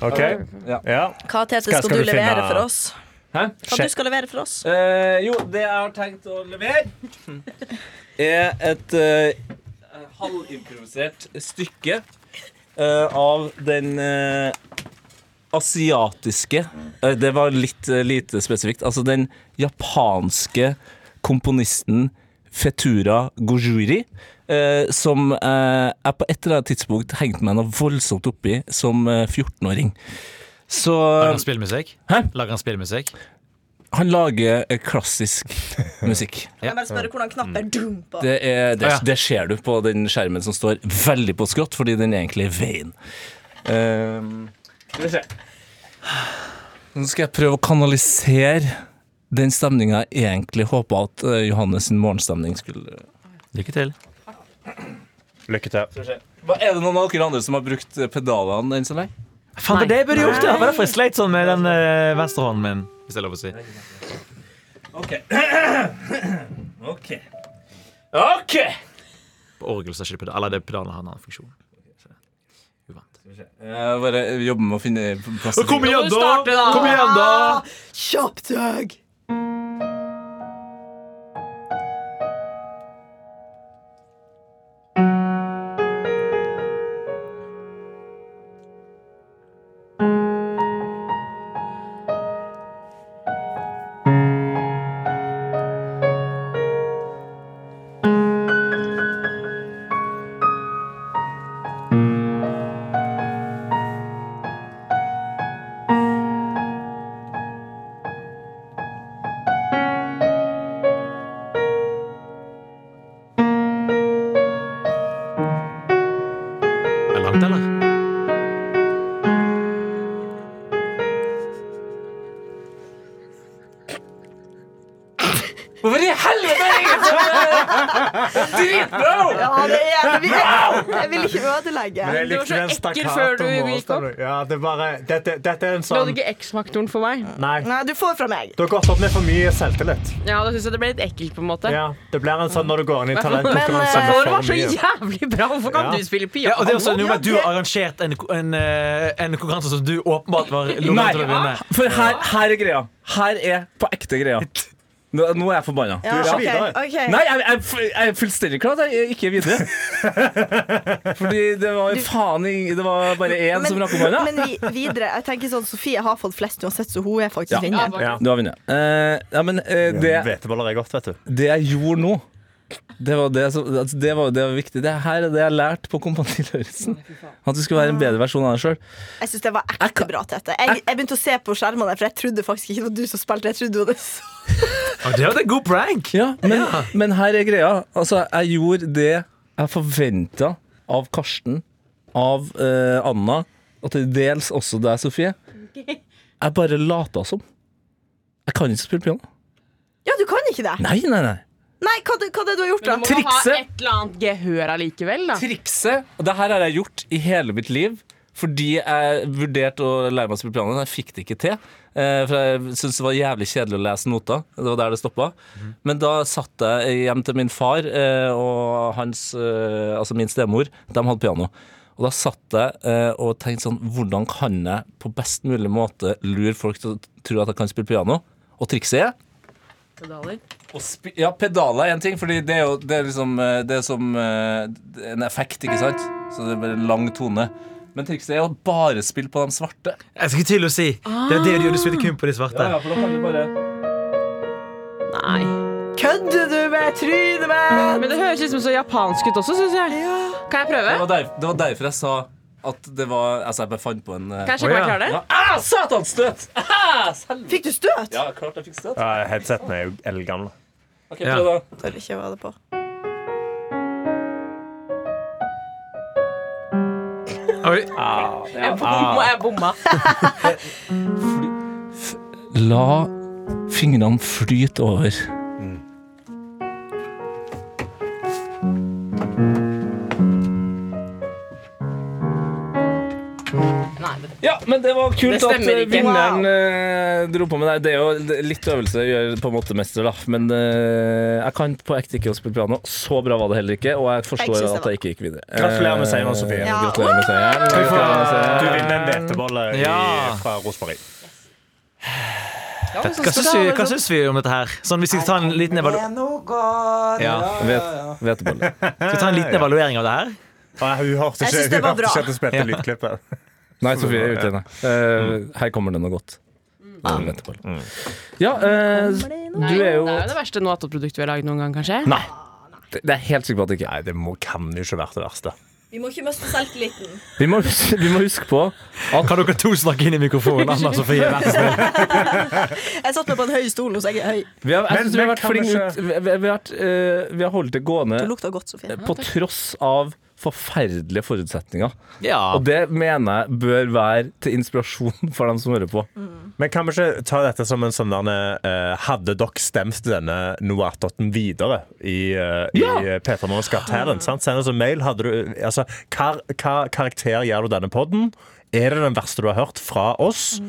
Speaker 7: OK?
Speaker 3: Ja.
Speaker 7: Ja.
Speaker 5: Hva, Tete, skal,
Speaker 7: Skal- skal
Speaker 5: du
Speaker 7: du
Speaker 5: levere
Speaker 7: finne-
Speaker 5: for oss?
Speaker 3: Hæ?
Speaker 5: Hva du skal levere for oss?
Speaker 3: Eh, jo, det jeg har tenkt å levere, er et eh, halvimprovisert stykke eh, av den eh, asiatiske eh, Det var litt eh, lite spesifikt. Altså den japanske komponisten Fetura Gojuri. eh, som eh, jeg på et eller annet tidspunkt hengte meg noe voldsomt oppi som eh, 14-åring. Så
Speaker 4: Lager <gasps> han spillmusikk?
Speaker 3: Hæ?
Speaker 4: Lager han spillmusikk?
Speaker 3: han lager eh, klassisk musikk.
Speaker 5: Kan jeg bare spørre hvordan knapper dum på?
Speaker 3: Det, er, det,
Speaker 4: Å, ja.
Speaker 3: det ser du på den skjermen som står veldig på skrått, fordi den er egentlig i veien. Ehm, Skal vi se. Nå skal jeg prøve å kanalisere den stemninga jeg egentlig håpa at eh, Johannes' sin morgenstemning skulle
Speaker 4: Lykke til.
Speaker 7: Lykke til.
Speaker 3: Hva, Er det noen av dere andre som har brukt eh, pedalene enn så lenge?
Speaker 4: Faen, det er det jeg burde gjort! Det var derfor jeg sleit sånn med den eh, venstre hånden min. Hvis det er lov å si.
Speaker 3: OK. <coughs> OK. OK!
Speaker 4: På orgel så er ikke det pedal. Eller det er pedalen har en annen funksjon. Så, Uvant.
Speaker 3: Jeg bare jobber med å finne plass til
Speaker 4: Kom igjen,
Speaker 6: Nå må du starte,
Speaker 4: da!
Speaker 6: da!
Speaker 4: Kom igjen, da!
Speaker 5: Kjapt høg!
Speaker 4: Er det langt, eller?
Speaker 3: Hvorfor i helvete er det ingen som Dritbra!
Speaker 5: Ja, det er jeg. vil- Jeg vil ikke ødelegge.
Speaker 7: Jeg
Speaker 6: likte den ekkel før du gikk opp.
Speaker 7: Ja, det er bare, dette, dette er en
Speaker 6: Du hadde
Speaker 7: sånn
Speaker 6: ikke X-faktoren for meg.
Speaker 7: Nei.
Speaker 5: Nei, du får fra meg.
Speaker 7: Du har gått opp med for mye selvtillit.
Speaker 6: Ja, da synes jeg det ble litt ekkelt, på en måte.
Speaker 7: Ja, det blir en sånn når du går inn i talentkonkurranse
Speaker 5: Men, eh,
Speaker 7: med
Speaker 6: Vår
Speaker 7: for
Speaker 6: var så
Speaker 7: mye.
Speaker 6: jævlig bra! Hvorfor kan
Speaker 7: Ja.
Speaker 6: du spille piano?
Speaker 4: Ja, og det er også noe med at Du har arrangert en, en, eh, en konkurranse som du åpenbart var lovet til å vinne.
Speaker 3: Nei, for her, her er greia. Her er på ekte greia. Nå, nå er jeg forbanna.
Speaker 5: Ja,
Speaker 7: ikke
Speaker 5: ok,
Speaker 7: videre.
Speaker 5: ok.
Speaker 3: Nei, jeg, jeg, jeg er fullstendig klar at jeg ikke er
Speaker 5: <laughs>
Speaker 3: videre. Fordi det var faen ing- Det var bare én som rakk opp hånda.
Speaker 5: men vi, videre. Jeg tenker sånn, Sofie har fått flest uansett, så hun er faktisk
Speaker 3: Ja.
Speaker 5: vinner.
Speaker 6: Ja,
Speaker 7: Ja.
Speaker 3: Du har vunnet. Eh, ja, men eh, det,
Speaker 7: Hveteboller er godt, vet du.
Speaker 3: det jeg gjorde nå det var det, som, altså, det, var, det var viktig. Det her er det jeg lærte på Kompani Lauritzen. At du skulle
Speaker 5: Ah.
Speaker 3: være en bedre versjon av deg sjøl.
Speaker 5: Jeg syns det var ekte bra, Tete. Jeg, jeg begynte å se på skjermene, for jeg trodde faktisk ikke det var du som spilte. Jeg trodde det var det som-
Speaker 4: Ja, det var en god prank!
Speaker 3: Ja, men, men her er greia. Altså, jeg gjorde det jeg forventa av Karsten, av eh, Anna, og til dels også deg, Sofie. Jeg bare lata som. Jeg kan ikke spille piano.
Speaker 5: Ja, du kan ikke det!
Speaker 3: Nei, nei, nei.
Speaker 5: Nei, hva, hva er det du har gjort, da?
Speaker 6: Men du må jo ha
Speaker 3: Trikset.
Speaker 6: et eller annet gehør allikevel, da.
Speaker 3: Trikset, og det her har jeg gjort i hele mitt liv, fordi jeg vurderte å lære meg å spille piano, men jeg fikk det ikke til. Eh, For jeg syntes det var jævlig kjedelig å lese noter. Det var der det stoppa. Men da satt jeg hjem til min far eh, og hans, eh, altså min stemor. De hadde piano. Og da satt jeg eh, og tenkte sånn Hvordan kan jeg på best mulig måte lure folk til å tro at jeg kan spille piano? Og trikset er
Speaker 6: Pedaler.
Speaker 3: å spi- ja, pedaler er en ting, fordi det er jo det er liksom eh, Det er som eh, en effekt, ikke sant? Så det er bare en lang tone. Men trikset er å bare spille på de svarte.
Speaker 4: Jeg skulle til å si Det er det du gjør, du spiller kun på de svarte.
Speaker 3: for da kan du bare
Speaker 6: Nei.
Speaker 5: Kødder du med trynet mitt?!
Speaker 6: Men det høres liksom så japansk ut også, syns jeg. Kan jeg prøve?
Speaker 3: Det var, der, det var derfor jeg sa at det var Altså, jeg bare fant på en eh,
Speaker 6: Kan jeg sjekke om jeg
Speaker 4: Å, ja.
Speaker 6: klarer det?
Speaker 3: Ah, satanstøt! Ah, selv-
Speaker 5: Fikk du støt?
Speaker 3: ja, klart jeg fikk støt.
Speaker 7: Ja, headseten er jo eldgamle.
Speaker 3: Ok,
Speaker 4: Ja.
Speaker 3: prøv da.
Speaker 5: Tør ikke å ha det på.
Speaker 4: Oi.
Speaker 6: Jeg bomma. Jeg bomma.
Speaker 3: La fingrene flyte over.
Speaker 6: Nei, det
Speaker 3: Ja, men det var kult
Speaker 6: Det
Speaker 3: at
Speaker 6: stemmer
Speaker 3: eh,
Speaker 6: ikke.
Speaker 3: vinneren eh, dro på med deg. Det er jo det- litt øvelse gjør på en måte mester, da. Men eh, jeg kan på ekte ikke å spille piano. Så bra var det heller ikke, og jeg
Speaker 5: Jeg
Speaker 3: forstår
Speaker 5: synes det
Speaker 3: at jeg ikke gikk videre.
Speaker 7: Gratulerer med seieren,
Speaker 3: Eh,
Speaker 7: Sofie.
Speaker 5: Ja.
Speaker 3: Gratulerer med seieren. Gratulerer med seieren.
Speaker 7: altså, Du vinner en hvetebolle i-
Speaker 4: Ja.
Speaker 7: fra Rosmarin.
Speaker 4: Hva syns vi, hva syns vi om dette her? Sånn, hvis vi skal ta en liten, evalu ja.
Speaker 3: Vet- Hvetebolle.
Speaker 4: skal vi ta en liten evaluering av det her?
Speaker 7: Ah, Hun hørte
Speaker 5: Jeg
Speaker 7: ikke
Speaker 5: synes det
Speaker 7: hun
Speaker 5: var
Speaker 7: hørte
Speaker 5: bra.
Speaker 7: ikke at du spilte lydklippet.
Speaker 3: Nei, Sofie er ute igjen.
Speaker 7: Mm.
Speaker 3: Eh, her kommer det noe godt. Hvetebolle. Ja, eh,
Speaker 6: Nei,
Speaker 3: du er jo
Speaker 6: Det er jo det verste noe-attåt-produktet vi har lagd noen gang, kanskje.
Speaker 3: Nei. Det det er jeg helt sikker på at det ikke er.
Speaker 7: Nei, det må, kan jo ikke vært det verste.
Speaker 5: Vi må ikke miste selvtilliten.
Speaker 3: Vi må, vi må huske på
Speaker 4: Kan dere to snakke inn i mikrofonen? Anna Sofie, vær så snill.
Speaker 5: Jeg satt meg på en høy stol nå, så jeg er høy.
Speaker 3: Vi har, jeg
Speaker 7: Men-
Speaker 3: synes vi har
Speaker 7: men
Speaker 3: vært
Speaker 7: kan
Speaker 3: flink
Speaker 7: vi ikke-
Speaker 3: ut. Vi, vi, vi, har vært, eh, vi har holdt det gående
Speaker 5: Du lukta godt, Sofie.
Speaker 3: på tross av forferdelige forutsetninger.
Speaker 4: Ja.
Speaker 3: Og det mener jeg bør være til inspirasjon for dem som hører på.
Speaker 7: Men kan vi ikke ta dette som en sånn der eh, Hadde dere stemt denne Noatoten videre i, uh,
Speaker 3: Ja.
Speaker 7: i Peter Morgens Got Talent? sant? Send oss en mail. Hadde du, altså, hva, hva karakter gir du denne podden? Er det den verste du har hørt fra oss?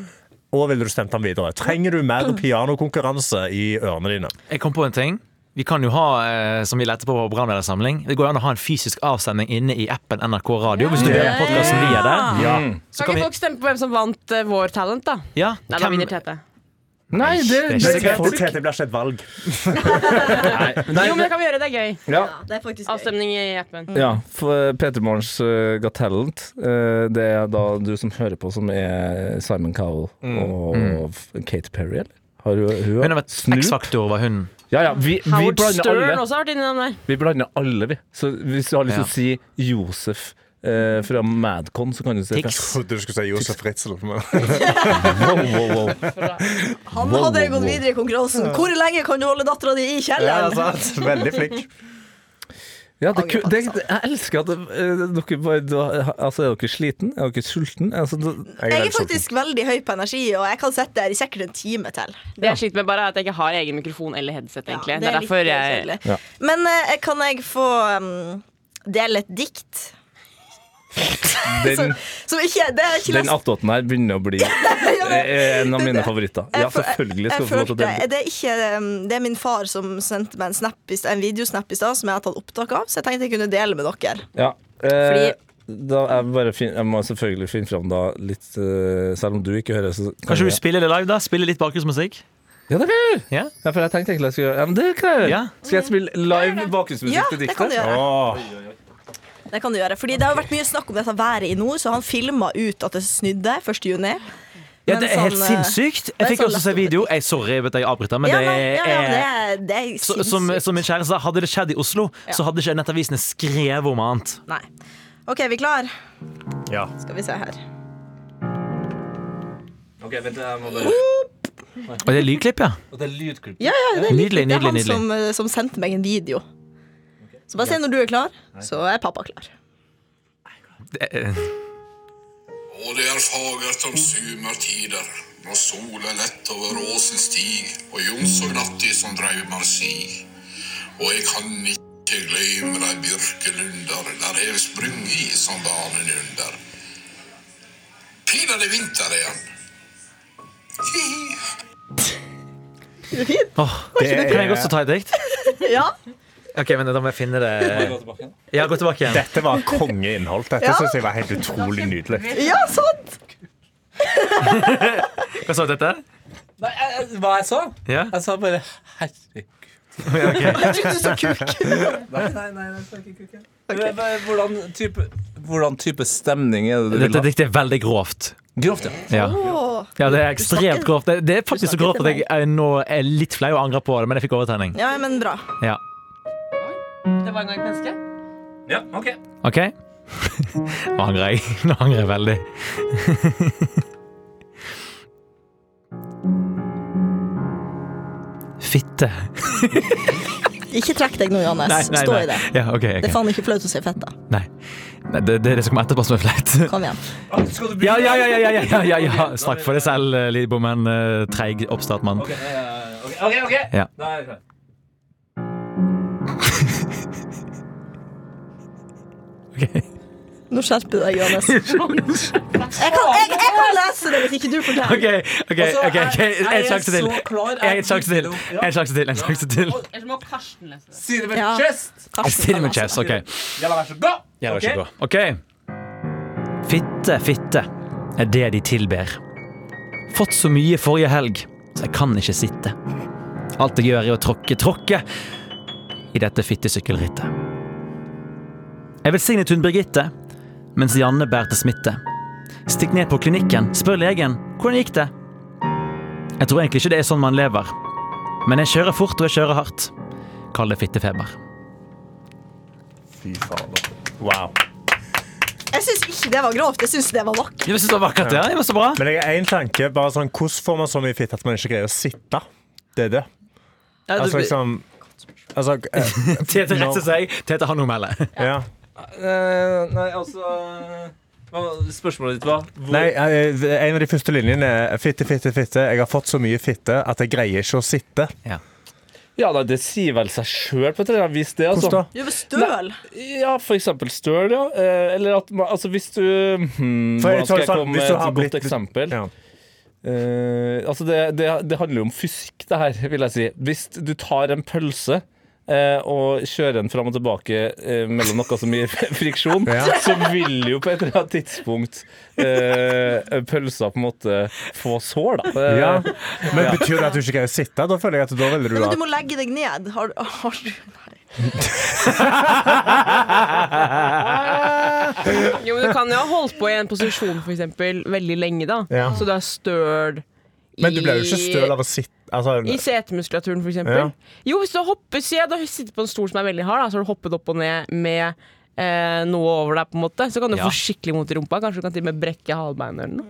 Speaker 7: Og ville du stemt den videre? Trenger du mer pianokonkurranse i ørene dine?
Speaker 4: Jeg kom på en ting. Vi kan jo ha eh, som vi leter på på programledersamling. Det går jo an å ha en fysisk avsending inne i appen NRK Radio. Hvis du hører podcasten via der.
Speaker 7: Ja.
Speaker 4: Så kan
Speaker 6: kan ikke
Speaker 4: vi,
Speaker 6: folk stemme på hvem som vant eh, vår talent, da?
Speaker 4: ja,
Speaker 6: Nei, da
Speaker 4: hvem,
Speaker 6: vinner Tete.
Speaker 3: Nei, det,
Speaker 4: det er ikke
Speaker 3: det,
Speaker 4: sikkert.
Speaker 3: folk-
Speaker 7: Tete blir ikke et valg.
Speaker 6: Jo, men det kan vi gjøre. Det er gøy.
Speaker 3: ja,
Speaker 5: Ja, det er faktisk gøy.
Speaker 6: Avstemning i appen.
Speaker 3: ja, for eh, Peter Morgens uh, Got Talent, eh, det er da du som hører på, som er Simon Cowell og f- Katy Perry, eller? Har hun, Mm. hun
Speaker 4: hun har vært
Speaker 3: Snoop?
Speaker 4: X-faktor, var hun.
Speaker 3: Ja, ja, vi, vi
Speaker 6: Howard
Speaker 3: blander
Speaker 6: Stern
Speaker 3: alle.
Speaker 6: også har vært innom der.
Speaker 3: Vi blander alle, vi. Så hvis du har lyst
Speaker 4: Ja.
Speaker 3: til å si Josef eh, fra Madcon, så kan du si
Speaker 4: Tix.
Speaker 7: Trodde du skulle si Josef Ritzel. men-
Speaker 3: Wow, wow, wow.
Speaker 5: Han
Speaker 3: Wow, wow,
Speaker 5: hadde gått
Speaker 3: wow.
Speaker 5: videre i konkurransen. Hvor lenge kan du holde dattera di i
Speaker 7: Ja, altså,
Speaker 5: kjelleren?
Speaker 7: sant. Veldig flink.
Speaker 3: Ja, det, ku-
Speaker 5: Angrer på
Speaker 3: det,
Speaker 5: at jeg sa
Speaker 3: jeg elsker at eh, dere bare da, Altså, er dere sliten? Er dere sulten? Altså, da-
Speaker 7: Jeg er
Speaker 5: Jeg
Speaker 7: veldig
Speaker 5: er faktisk veldig høy på energi, og jeg kan sitte der i sikkert en time til.
Speaker 6: Det jeg sliter med, bare er at jeg ikke har egen mikrofon eller headset. egentlig
Speaker 5: Ja,
Speaker 6: det, er eh,
Speaker 5: litt
Speaker 6: derfor jeg
Speaker 5: kjedelig. Men eh, kan jeg få um, dele et dikt?
Speaker 3: den
Speaker 5: Som ikke Det er ikke
Speaker 3: den
Speaker 5: lest.
Speaker 3: attåten her begynner å
Speaker 5: <laughs>
Speaker 3: bli eh, en av mine favoritter. Ja,
Speaker 5: Jeg fø-
Speaker 3: selvfølgelig skal
Speaker 5: jeg
Speaker 3: du få lov til å
Speaker 5: følte-
Speaker 3: dele.
Speaker 5: det. Er ikke, um, det er min far som sendte meg en, snap, i st- en videosnap i stad som jeg har tatt opptak av, så jeg tenkte jeg kunne dele med dere.
Speaker 3: Ja. Eh,
Speaker 5: Fordi-
Speaker 3: da er jeg, bare fin, jeg må selvfølgelig finne fram da litt eh, Selv om du ikke hører, så kan
Speaker 4: Kanskje du
Speaker 3: jeg-
Speaker 4: spiller det live, da? Spiller litt bakgrunnsmusikk?
Speaker 3: Ja, det kan jeg gjøre!
Speaker 4: Ja.
Speaker 3: Ja, for jeg tenkte egentlig jeg skulle gjøre ja, men det kan jeg gjøre.
Speaker 4: Ja.
Speaker 3: Skal jeg spille live bakgrunnsmusikk
Speaker 5: Ja,
Speaker 3: til
Speaker 5: det kan du
Speaker 3: diktet?
Speaker 5: gjøre.
Speaker 7: Åh,
Speaker 5: Det kan du gjøre. Fordi det har jo vært mye snakk om dette været i nord, så han filma ut at det snudde 1. juni.
Speaker 4: Ja, det
Speaker 5: Mens
Speaker 4: er helt
Speaker 5: han, eh,
Speaker 4: sinnssykt.
Speaker 5: men
Speaker 4: Jeg fikk
Speaker 5: sånn
Speaker 4: også se video. Jeg, sorry, vet jeg avbryter, men
Speaker 5: Ja,
Speaker 4: det
Speaker 5: nei, ja, ja, men det
Speaker 4: er
Speaker 5: er, det er
Speaker 4: så, som,
Speaker 5: sinnssykt.
Speaker 4: som min kjæreste sa, hadde det skjedd i Oslo, så hadde ikke nettavisene skrevet om annet.
Speaker 5: Nei. OK, er vi klar?
Speaker 7: Ja.
Speaker 5: Skal vi se her.
Speaker 4: Og det er lydklipp, ja.
Speaker 5: Ja, ja, det er litt-
Speaker 4: Nydelig,
Speaker 5: Det er
Speaker 4: nydelig,
Speaker 5: han
Speaker 4: nydelig.
Speaker 5: Som, eh, som sendte meg en video. Så bare se når du er klar, så er pappa klar.
Speaker 4: Det er-
Speaker 10: Og det er fagert om sumartider, når sola lett over åsen stig, og Jons og Latti som draumar si. Og jeg kan ikke gløyme dei bjørkelunder, der hev sprungi som banen under. Pinadø vinter igjen. Hi-hi.
Speaker 4: Åh, kan jeg også ta et dikt?
Speaker 5: Ja,
Speaker 4: Ok, men Da må jeg finne det Ja, gå tilbake igjen.
Speaker 7: Dette var kongeinnhold. Dette synes jeg var helt utrolig nydelig.
Speaker 5: ja sant!
Speaker 4: Hva sa du dette?
Speaker 3: eh, Hva jeg sa?
Speaker 4: Ja?
Speaker 3: Jeg sa bare 'herregud'. <laughs>
Speaker 5: Jeg trodde du så
Speaker 4: <laughs>
Speaker 5: kuk.
Speaker 3: Hvordan, type, stemning er det
Speaker 4: Dette diktet er veldig grovt.
Speaker 3: Grovt, ja.
Speaker 4: Ja,
Speaker 5: Åh.
Speaker 4: ja det er ekstremt
Speaker 5: snakker-
Speaker 4: grovt. Det, det er faktisk så
Speaker 5: snakker
Speaker 4: grovt
Speaker 5: til
Speaker 4: at jeg er nå er litt flau og angrer på det, men jeg fikk overtenning.
Speaker 5: Ja, men bra.
Speaker 4: Ja.
Speaker 6: Det var en gang et menneske.
Speaker 3: ja ok.
Speaker 4: OK? <laughs> Nå angrer jeg. Nå angrer jeg veldig. <laughs> Fitte.
Speaker 5: Ikke trekk deg nå, Johannes. Stå Altså, i det.
Speaker 4: Ja, ok,
Speaker 5: Det er
Speaker 4: ok.
Speaker 5: faen ikke flaut å si fett, da.
Speaker 4: Nei. Nei, det, det er det som kommer etterpå som er flaut. <laughs>
Speaker 5: Kom igjen.
Speaker 4: Ja, ja, ja, ja, ja, ja, ja, ja. Snakk for deg selv, eh, Lidbommen. eh, Treig oppstartmann.
Speaker 3: OK, ok.
Speaker 4: Ja.
Speaker 3: Da er jeg klar.
Speaker 4: Ok.
Speaker 5: Nå skjerper du deg,
Speaker 4: <laughs>
Speaker 5: Johannes. Jeg kan, jeg, jeg kan lese det hvis ikke du forteller.
Speaker 4: OK, ok, Eh, ok, ok, en sjanse til. En sjanse til. En sjanse til. en sjanse til
Speaker 11: Ellers må Karsten lese det.
Speaker 3: Si det med
Speaker 5: Ja.
Speaker 3: chest!
Speaker 5: Karsten kan
Speaker 4: Cinnamon
Speaker 5: lese
Speaker 4: chess, OK.
Speaker 3: Jalla, vær så god!
Speaker 4: Ja, det
Speaker 3: Ok?
Speaker 4: var ikke bra. OK. Fitte, fitte er det de tilber. Fått så mye forrige helg, så jeg kan ikke sitte. Alt jeg gjør er å tråkke, tråkke i dette fittesykkelrittet. Jeg velsignet hun Birgitte mens Janne bærte smitte. Stikk ned på klinikken, spør legen hvordan gikk det. Jeg tror egentlig ikke det er sånn man lever, men jeg kjører fort og jeg kjører hardt. Kall det fittefeber.
Speaker 7: Fy fader. Wow.
Speaker 5: Jeg syns ikke det var grovt. Jeg syns det var nok.
Speaker 4: Jeg synes det var vakkert, ja. Det var så bra.
Speaker 7: Men jeg har én tanke. bare sånn, Hvordan får man så mye fitte at man ikke greier å sitte? Det er det.
Speaker 4: Ja,
Speaker 7: Altså
Speaker 4: det-
Speaker 7: liksom Altså, eh,
Speaker 4: Tete retter seg. Tete har noe å <laughs> melde.
Speaker 7: ja.
Speaker 3: Eh, nei, altså hva- Spørsmålet ditt var hvor,
Speaker 7: Nei, eh, en av de første linjene er fitte, fitte, fitte. Jeg har fått så mye fitte at jeg greier ikke å sitte.
Speaker 3: Ja, nei, det sier vel seg sjøl på et eller annet vis, det. Altså.
Speaker 7: Hvordan da?
Speaker 5: Du var støl.
Speaker 3: Ja, for eksempel støl, ja. Eh, eller at man Altså, hvis du hmm,
Speaker 7: For jeg
Speaker 3: Hvordan skal
Speaker 7: tror
Speaker 3: jeg
Speaker 7: sånn,
Speaker 3: komme med
Speaker 7: hvis du
Speaker 3: et
Speaker 7: har
Speaker 3: godt
Speaker 7: blitt-
Speaker 3: eksempel?
Speaker 7: Ja.
Speaker 3: Eh, altså, det, det, det handler jo om fysikk, det her, vil jeg si. Hvis du tar en pølse eh, og kjører den fram og tilbake eh, mellom noe som gir <laughs> friksjon, så vil jo på et eller annet tidspunkt eh, pølsa på en måte få sår, da. Eh,
Speaker 7: Ja. Men betyr det at du ikke greier å sitte? Da føler jeg at da ville du
Speaker 5: Nei, men
Speaker 7: ha
Speaker 5: du må legge deg ned. Har, har du Nei.
Speaker 6: <laughs> Jo, men Du kan jo ha holdt på i en posisjon for eksempel, veldig lenge, da.
Speaker 7: Ja.
Speaker 6: Så du er støl Altså, i
Speaker 7: Men du ble jo ikke støl av å sitte.
Speaker 6: i
Speaker 7: Altså,
Speaker 6: setemuskulaturen, for eksempel.
Speaker 7: Ja.
Speaker 6: Jo, hvis du hopper Se, du sitter på en stol som er veldig hard, da, så har du hoppet opp og ned med eh, noe over deg, på en måte. Så kan du
Speaker 4: Ja.
Speaker 6: få skikkelig vondt i rumpa. Kanskje du kan til og med brekke halebeinet eller noe.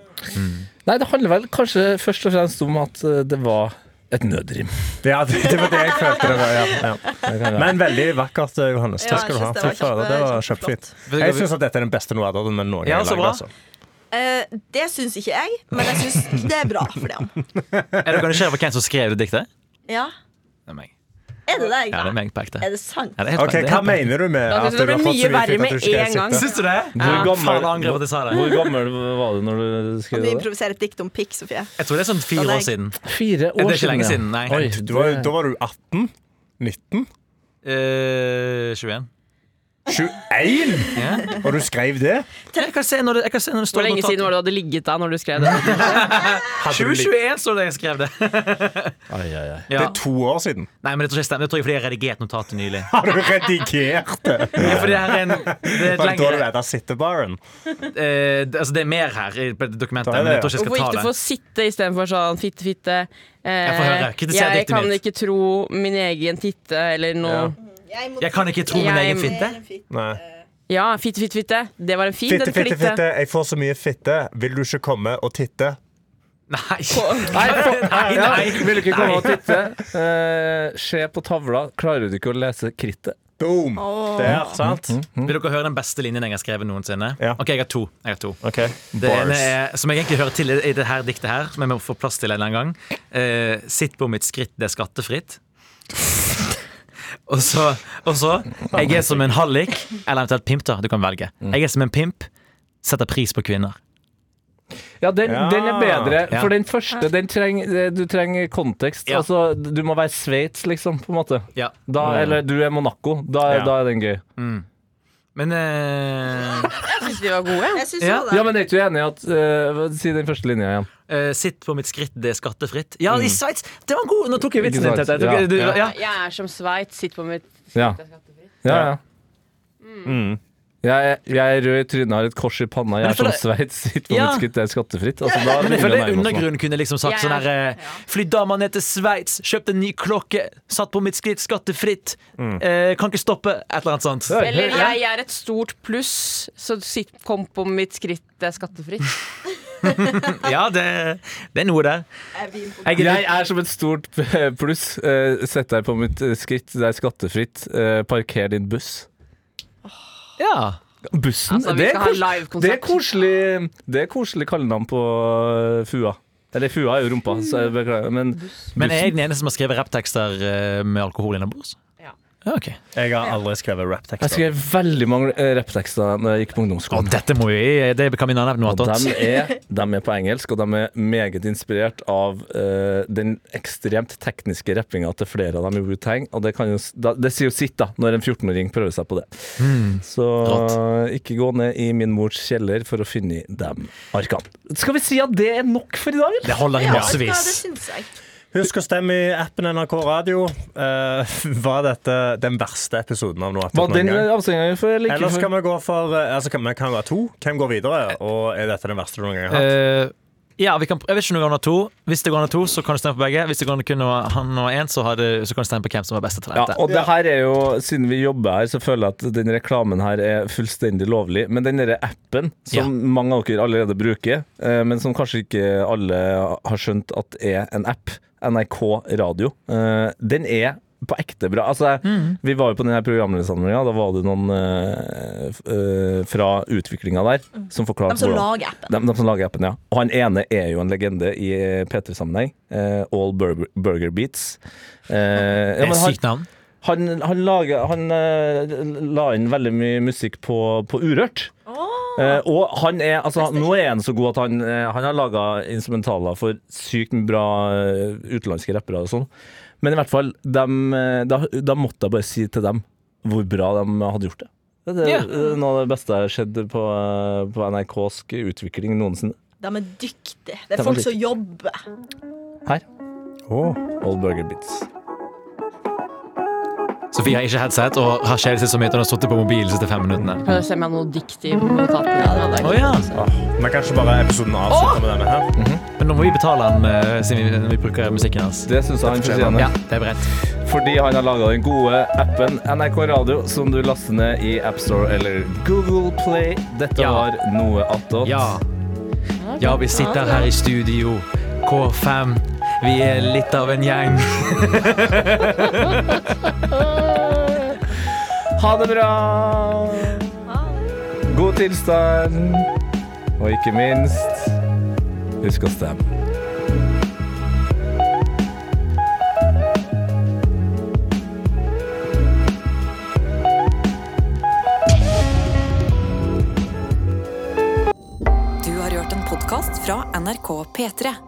Speaker 3: Nei, det handler vel kanskje først og fremst om at eh, det var et nødrim.
Speaker 7: ja, det, det var det jeg følte. Det var, ja. Ja. Men veldig vakkert, eh, Johannes.
Speaker 5: Ja,
Speaker 7: Takk
Speaker 5: jeg
Speaker 7: skal du ha.
Speaker 5: synes det
Speaker 7: Fy
Speaker 5: var
Speaker 7: fader, det var
Speaker 5: kjempe-
Speaker 7: kjempefint. Jeg syns at dette er den beste noaden med noen
Speaker 4: Ja,
Speaker 7: gang
Speaker 4: så
Speaker 7: lagd.
Speaker 4: bra.
Speaker 7: Altså.
Speaker 5: Eh, det syns ikke jeg, men jeg syns det er bra for dem.
Speaker 4: <laughs> Er dere nysgjerrige på hvem som skrev det diktet?
Speaker 5: Ja.
Speaker 4: Det er meg.
Speaker 5: Er det deg?
Speaker 4: Ja, det er meg på ekte.
Speaker 5: Er det sant?
Speaker 4: Ja, det er helt
Speaker 7: Ok,
Speaker 4: på ekte.
Speaker 7: Hva mener du med
Speaker 6: Da synes
Speaker 7: at
Speaker 6: jeg
Speaker 7: du
Speaker 6: det
Speaker 7: har
Speaker 6: blir
Speaker 7: fått så
Speaker 6: mye
Speaker 7: mye
Speaker 6: verre
Speaker 7: fitte at
Speaker 6: med
Speaker 7: du ikke
Speaker 6: en
Speaker 7: greier å
Speaker 6: gang.
Speaker 7: sitte?
Speaker 4: Syns du det?
Speaker 3: Hvor
Speaker 4: Faen, jeg
Speaker 3: gammel,
Speaker 4: angrer på at jeg sa det.
Speaker 3: hvor gammel var du når du
Speaker 5: Kan
Speaker 3: skrev
Speaker 5: du
Speaker 3: det?
Speaker 5: improvisere et dikt om pikk, Sofie?
Speaker 4: Jeg tror det er sånn fire år siden.
Speaker 3: Fire år
Speaker 4: Det er ikke lenge
Speaker 3: ja.
Speaker 4: siden, nei.
Speaker 3: Oi,
Speaker 7: Du var, da var du 18? 19?
Speaker 4: Eh, 21.
Speaker 7: 21? Og du skrev det?
Speaker 4: Jeg kan se når det, jeg kan se når det
Speaker 6: Hvor
Speaker 4: står
Speaker 6: lenge siden var det du hadde ligget da når du skrev det?
Speaker 7: Hadde du
Speaker 4: 2021
Speaker 7: likt-
Speaker 4: står det jeg skrev det.
Speaker 3: Ai, ai, ai.
Speaker 4: <laughs>
Speaker 7: Det
Speaker 4: Ja.
Speaker 7: er to år siden.
Speaker 4: Nei, men Det tror jeg stemmer. Det tror jeg fordi jeg har redigert notatet nylig.
Speaker 7: Har du redigert det?
Speaker 4: Ja, for det her er en, <laughs> det er et
Speaker 7: Var det da du
Speaker 4: lengre,
Speaker 7: lærte sittebaren?
Speaker 4: eh, det- altså det er mer her i på dokumentet,
Speaker 7: Ta det,
Speaker 4: men jeg tror ikke jeg skal
Speaker 6: Hvorfor gikk du
Speaker 4: ta det.
Speaker 6: for sitte istedenfor sånn fitte, fitte? Eh,
Speaker 4: får høre. Kritiser
Speaker 6: jeg
Speaker 4: diktet
Speaker 6: kan
Speaker 4: mitt.
Speaker 6: ikke tro min egen titte eller noe.
Speaker 4: Jeg kan ikke tro min
Speaker 6: Jeg-
Speaker 4: egen fitte.
Speaker 7: Nei.
Speaker 6: Ja, fitte, fitte, fitte. Det var en fin
Speaker 7: Fitte,
Speaker 6: den
Speaker 7: fitte,
Speaker 6: klikte.
Speaker 7: fitte. Jeg får så mye fitte. Vil du ikke komme og titte?
Speaker 4: Nei.
Speaker 3: Nei, for,
Speaker 4: <laughs> Nei, nei.
Speaker 3: Vil du ikke komme og titte? Eh, se på tavla. Klarer du ikke å lese krittet?
Speaker 7: Boom! Der,
Speaker 4: Mhm.
Speaker 7: sant?
Speaker 4: Vil dere høre den beste linjen jeg har skrevet noensinne?
Speaker 7: Ja.
Speaker 4: Ok, jeg har to. Jeg har to.
Speaker 7: OK.
Speaker 4: Det ene
Speaker 7: Bars.
Speaker 4: er, som jeg egentlig hører til i det her diktet her, som jeg må få plass til en eller annen gang. Eh, sitt på mitt skritt, det er skattefritt. og, så, og så Jeg er som en hallik, eller eventuelt pimp, da. Du kan velge. Jeg er som en pimp, setter pris på kvinner.
Speaker 3: Ja, den,
Speaker 7: Ja.
Speaker 3: den er bedre.
Speaker 4: Ja.
Speaker 3: For den første, den treng, eh, du trenger kontekst.
Speaker 4: Ja.
Speaker 3: Altså, du må være Sveits, liksom, på en måte.
Speaker 4: Ja.
Speaker 3: Da, Eller du er Monaco. Da,
Speaker 7: Ja.
Speaker 3: da er den gøy.
Speaker 4: Men eh,
Speaker 6: Synes de var gode.
Speaker 5: Jeg syns
Speaker 4: Ja.
Speaker 5: også
Speaker 3: Ja,
Speaker 5: det.
Speaker 3: men er ikke du enig i at eh, Si den første linja igjen.
Speaker 4: eh, Sitt på mitt skritt, det er skattefritt. Ja, i Sveits! Det var en god Nå tok jeg vitsen
Speaker 3: Ikke
Speaker 4: din,
Speaker 3: sant?
Speaker 4: Tete. Jeg tok-
Speaker 3: Ja.
Speaker 4: du- Ja.
Speaker 6: Jeg er som Sveits, sitter på mitt
Speaker 3: Ja. Ja, ja.
Speaker 4: Mm.
Speaker 3: Jeg, jeg er rød i trynet, har et kors i panna, jeg
Speaker 4: jeg
Speaker 3: er som
Speaker 4: føler-
Speaker 3: Sveits, sitt på
Speaker 4: Ja.
Speaker 3: mitt skritt, det er skattefritt. Altså, da
Speaker 4: Men jeg
Speaker 3: begynner
Speaker 4: føler
Speaker 3: jeg å nærme oss noe.
Speaker 4: undergrunnen kunne liksom sagt
Speaker 6: Jeg
Speaker 4: sånn
Speaker 6: er-
Speaker 4: her eh, Fly dama ned til Sveits, kjøpte en ny klokke, satt på mitt skritt, skattefritt. Eh, kan ikke stoppe. Et eller annet sånt.
Speaker 3: Ja.
Speaker 6: Eller jeg er et stort pluss, så sitt, kom på mitt skritt, det er skattefritt.
Speaker 4: Ja, det, det er noe der. Jeg er
Speaker 3: Jeg er som et stort <laughs> p- pluss. Eh, Sett deg på mitt eh, skritt, det er skattefritt. Eh, Parker din buss.
Speaker 4: litt Ja.
Speaker 3: Bussen?
Speaker 6: Altså, vi
Speaker 3: det, er
Speaker 6: skal ha
Speaker 3: kos- det, er
Speaker 6: livekonsert.
Speaker 3: koselig, det er koselig kallenavn på eh, fua. Eller fua er jo rumpa, så jeg beklager. Men
Speaker 4: Men er jeg den eneste som har skrevet rapptekster eh, med alkohol innabords?
Speaker 6: Ja.
Speaker 4: Ja, ok.
Speaker 7: Jeg har aldri skrevet
Speaker 3: Jeg
Speaker 7: rapptekster.
Speaker 3: skrev veldig mange eh, rapptekster da jeg gikk på
Speaker 4: Å,
Speaker 3: ungdomsskolen.
Speaker 4: dette må vi Det kan vi nevne noe
Speaker 3: Og de
Speaker 4: annet.
Speaker 3: er, dem er på engelsk, og de er meget inspirert av eh, den ekstremt tekniske rappinga til flere av dem i Wu-Tang. Og det, kan jo, s- da, det sier jo sitt, da, når en 14-åring prøver seg på det. Så ikke gå ned i min mors kjeller for å finne dem arkene. Skal vi si at det er nok for i dag, eller?
Speaker 4: Det holder i
Speaker 5: Ja, ja, det
Speaker 4: massevis.
Speaker 5: syns jeg.
Speaker 7: Husk å stemme i appen NRK Radio. Eh, <laughs> var dette den verste episoden av noe?
Speaker 3: Var den avsendinga vi får like
Speaker 7: Eller skal
Speaker 3: før?
Speaker 7: vi gå for eh, altså, kan, Vi kan være to. Hvem går
Speaker 3: Eh.
Speaker 7: videre? Og er dette den verste du noen gang har hatt?
Speaker 4: Eh, ja, vi kan, jeg vet ikke om det går under to. Hvis det går under to, så kan du stemme på begge. Hvis det går under kun noe- han og én, så, har du- så kan du stemme på hvem som var best til
Speaker 3: Ja,
Speaker 4: dette.
Speaker 3: og det her er jo, siden vi jobber her, så føler jeg at den reklamen her er fullstendig lovlig. Men den derre appen som
Speaker 4: Ja.
Speaker 3: mange av dere allerede bruker, eh, men som kanskje ikke alle har skjønt at er en app, NRK Radio, eh, den er på ekte bra. Altså, jeg-
Speaker 5: Mm.
Speaker 3: Vi var jo på denne programledersamlinga. Da var det noen eh, f- eh, fra utviklinga der som forklarte
Speaker 5: De som
Speaker 3: hvordan-
Speaker 5: lager appen.
Speaker 3: de, de som lager appen, ja. Og han ene er jo en legende i P3-sammenheng. Eh, All Burger, Burger Beats. Eh, ja,
Speaker 4: Det er
Speaker 3: men
Speaker 4: et
Speaker 3: han,
Speaker 4: sykt navn.
Speaker 3: han, han, lager, han eh, la inn veldig mye musikk på, på Urørt. Eh, og han er, altså, nå er han så god at han, eh, han har laga instrumentaler for sykt bra eh, utenlandske rappere og sånn. Men i hvert fall, dem, eh, da, da måtte jeg bare si til dem hvor bra de hadde gjort det. Det er
Speaker 4: Ja.
Speaker 3: eh, noe av det beste jeg har sett på, eh, på NRK-sk utvikling noensinne.
Speaker 5: De er dyktige. Det
Speaker 3: De er
Speaker 5: er folk som jobber.
Speaker 3: Her.
Speaker 7: Åh.
Speaker 3: Old Burger Beats.
Speaker 4: Sofie har ikke headset og har kjedet seg så mye at hun har sittet på mobilen de siste fem minuttene.
Speaker 6: Kan jeg se meg noe dikt i notatene? Ja, det er
Speaker 4: Å
Speaker 6: ikke-
Speaker 4: ja.
Speaker 3: Eh.
Speaker 7: Men kanskje bare episoden avslutter med denne her?
Speaker 4: Men nå må vi betale han eh, siden vi, vi bruker musikken hans.
Speaker 3: Det syns jeg han fortjener.
Speaker 4: Ja, det er bredt.
Speaker 3: Fordi han har laga den gode appen NRK Radio, som du laster ned i AppStore eller Google Play. Dette
Speaker 4: Ja.
Speaker 3: var noe attåt.
Speaker 4: Ja. ja, vi sitter her i studio. K5. Vi er litt av en gjeng.
Speaker 3: Ha det bra! God tilstand. Og ikke minst Husk å stemme.
Speaker 1: Du har hørt en podkast fra NRK P3.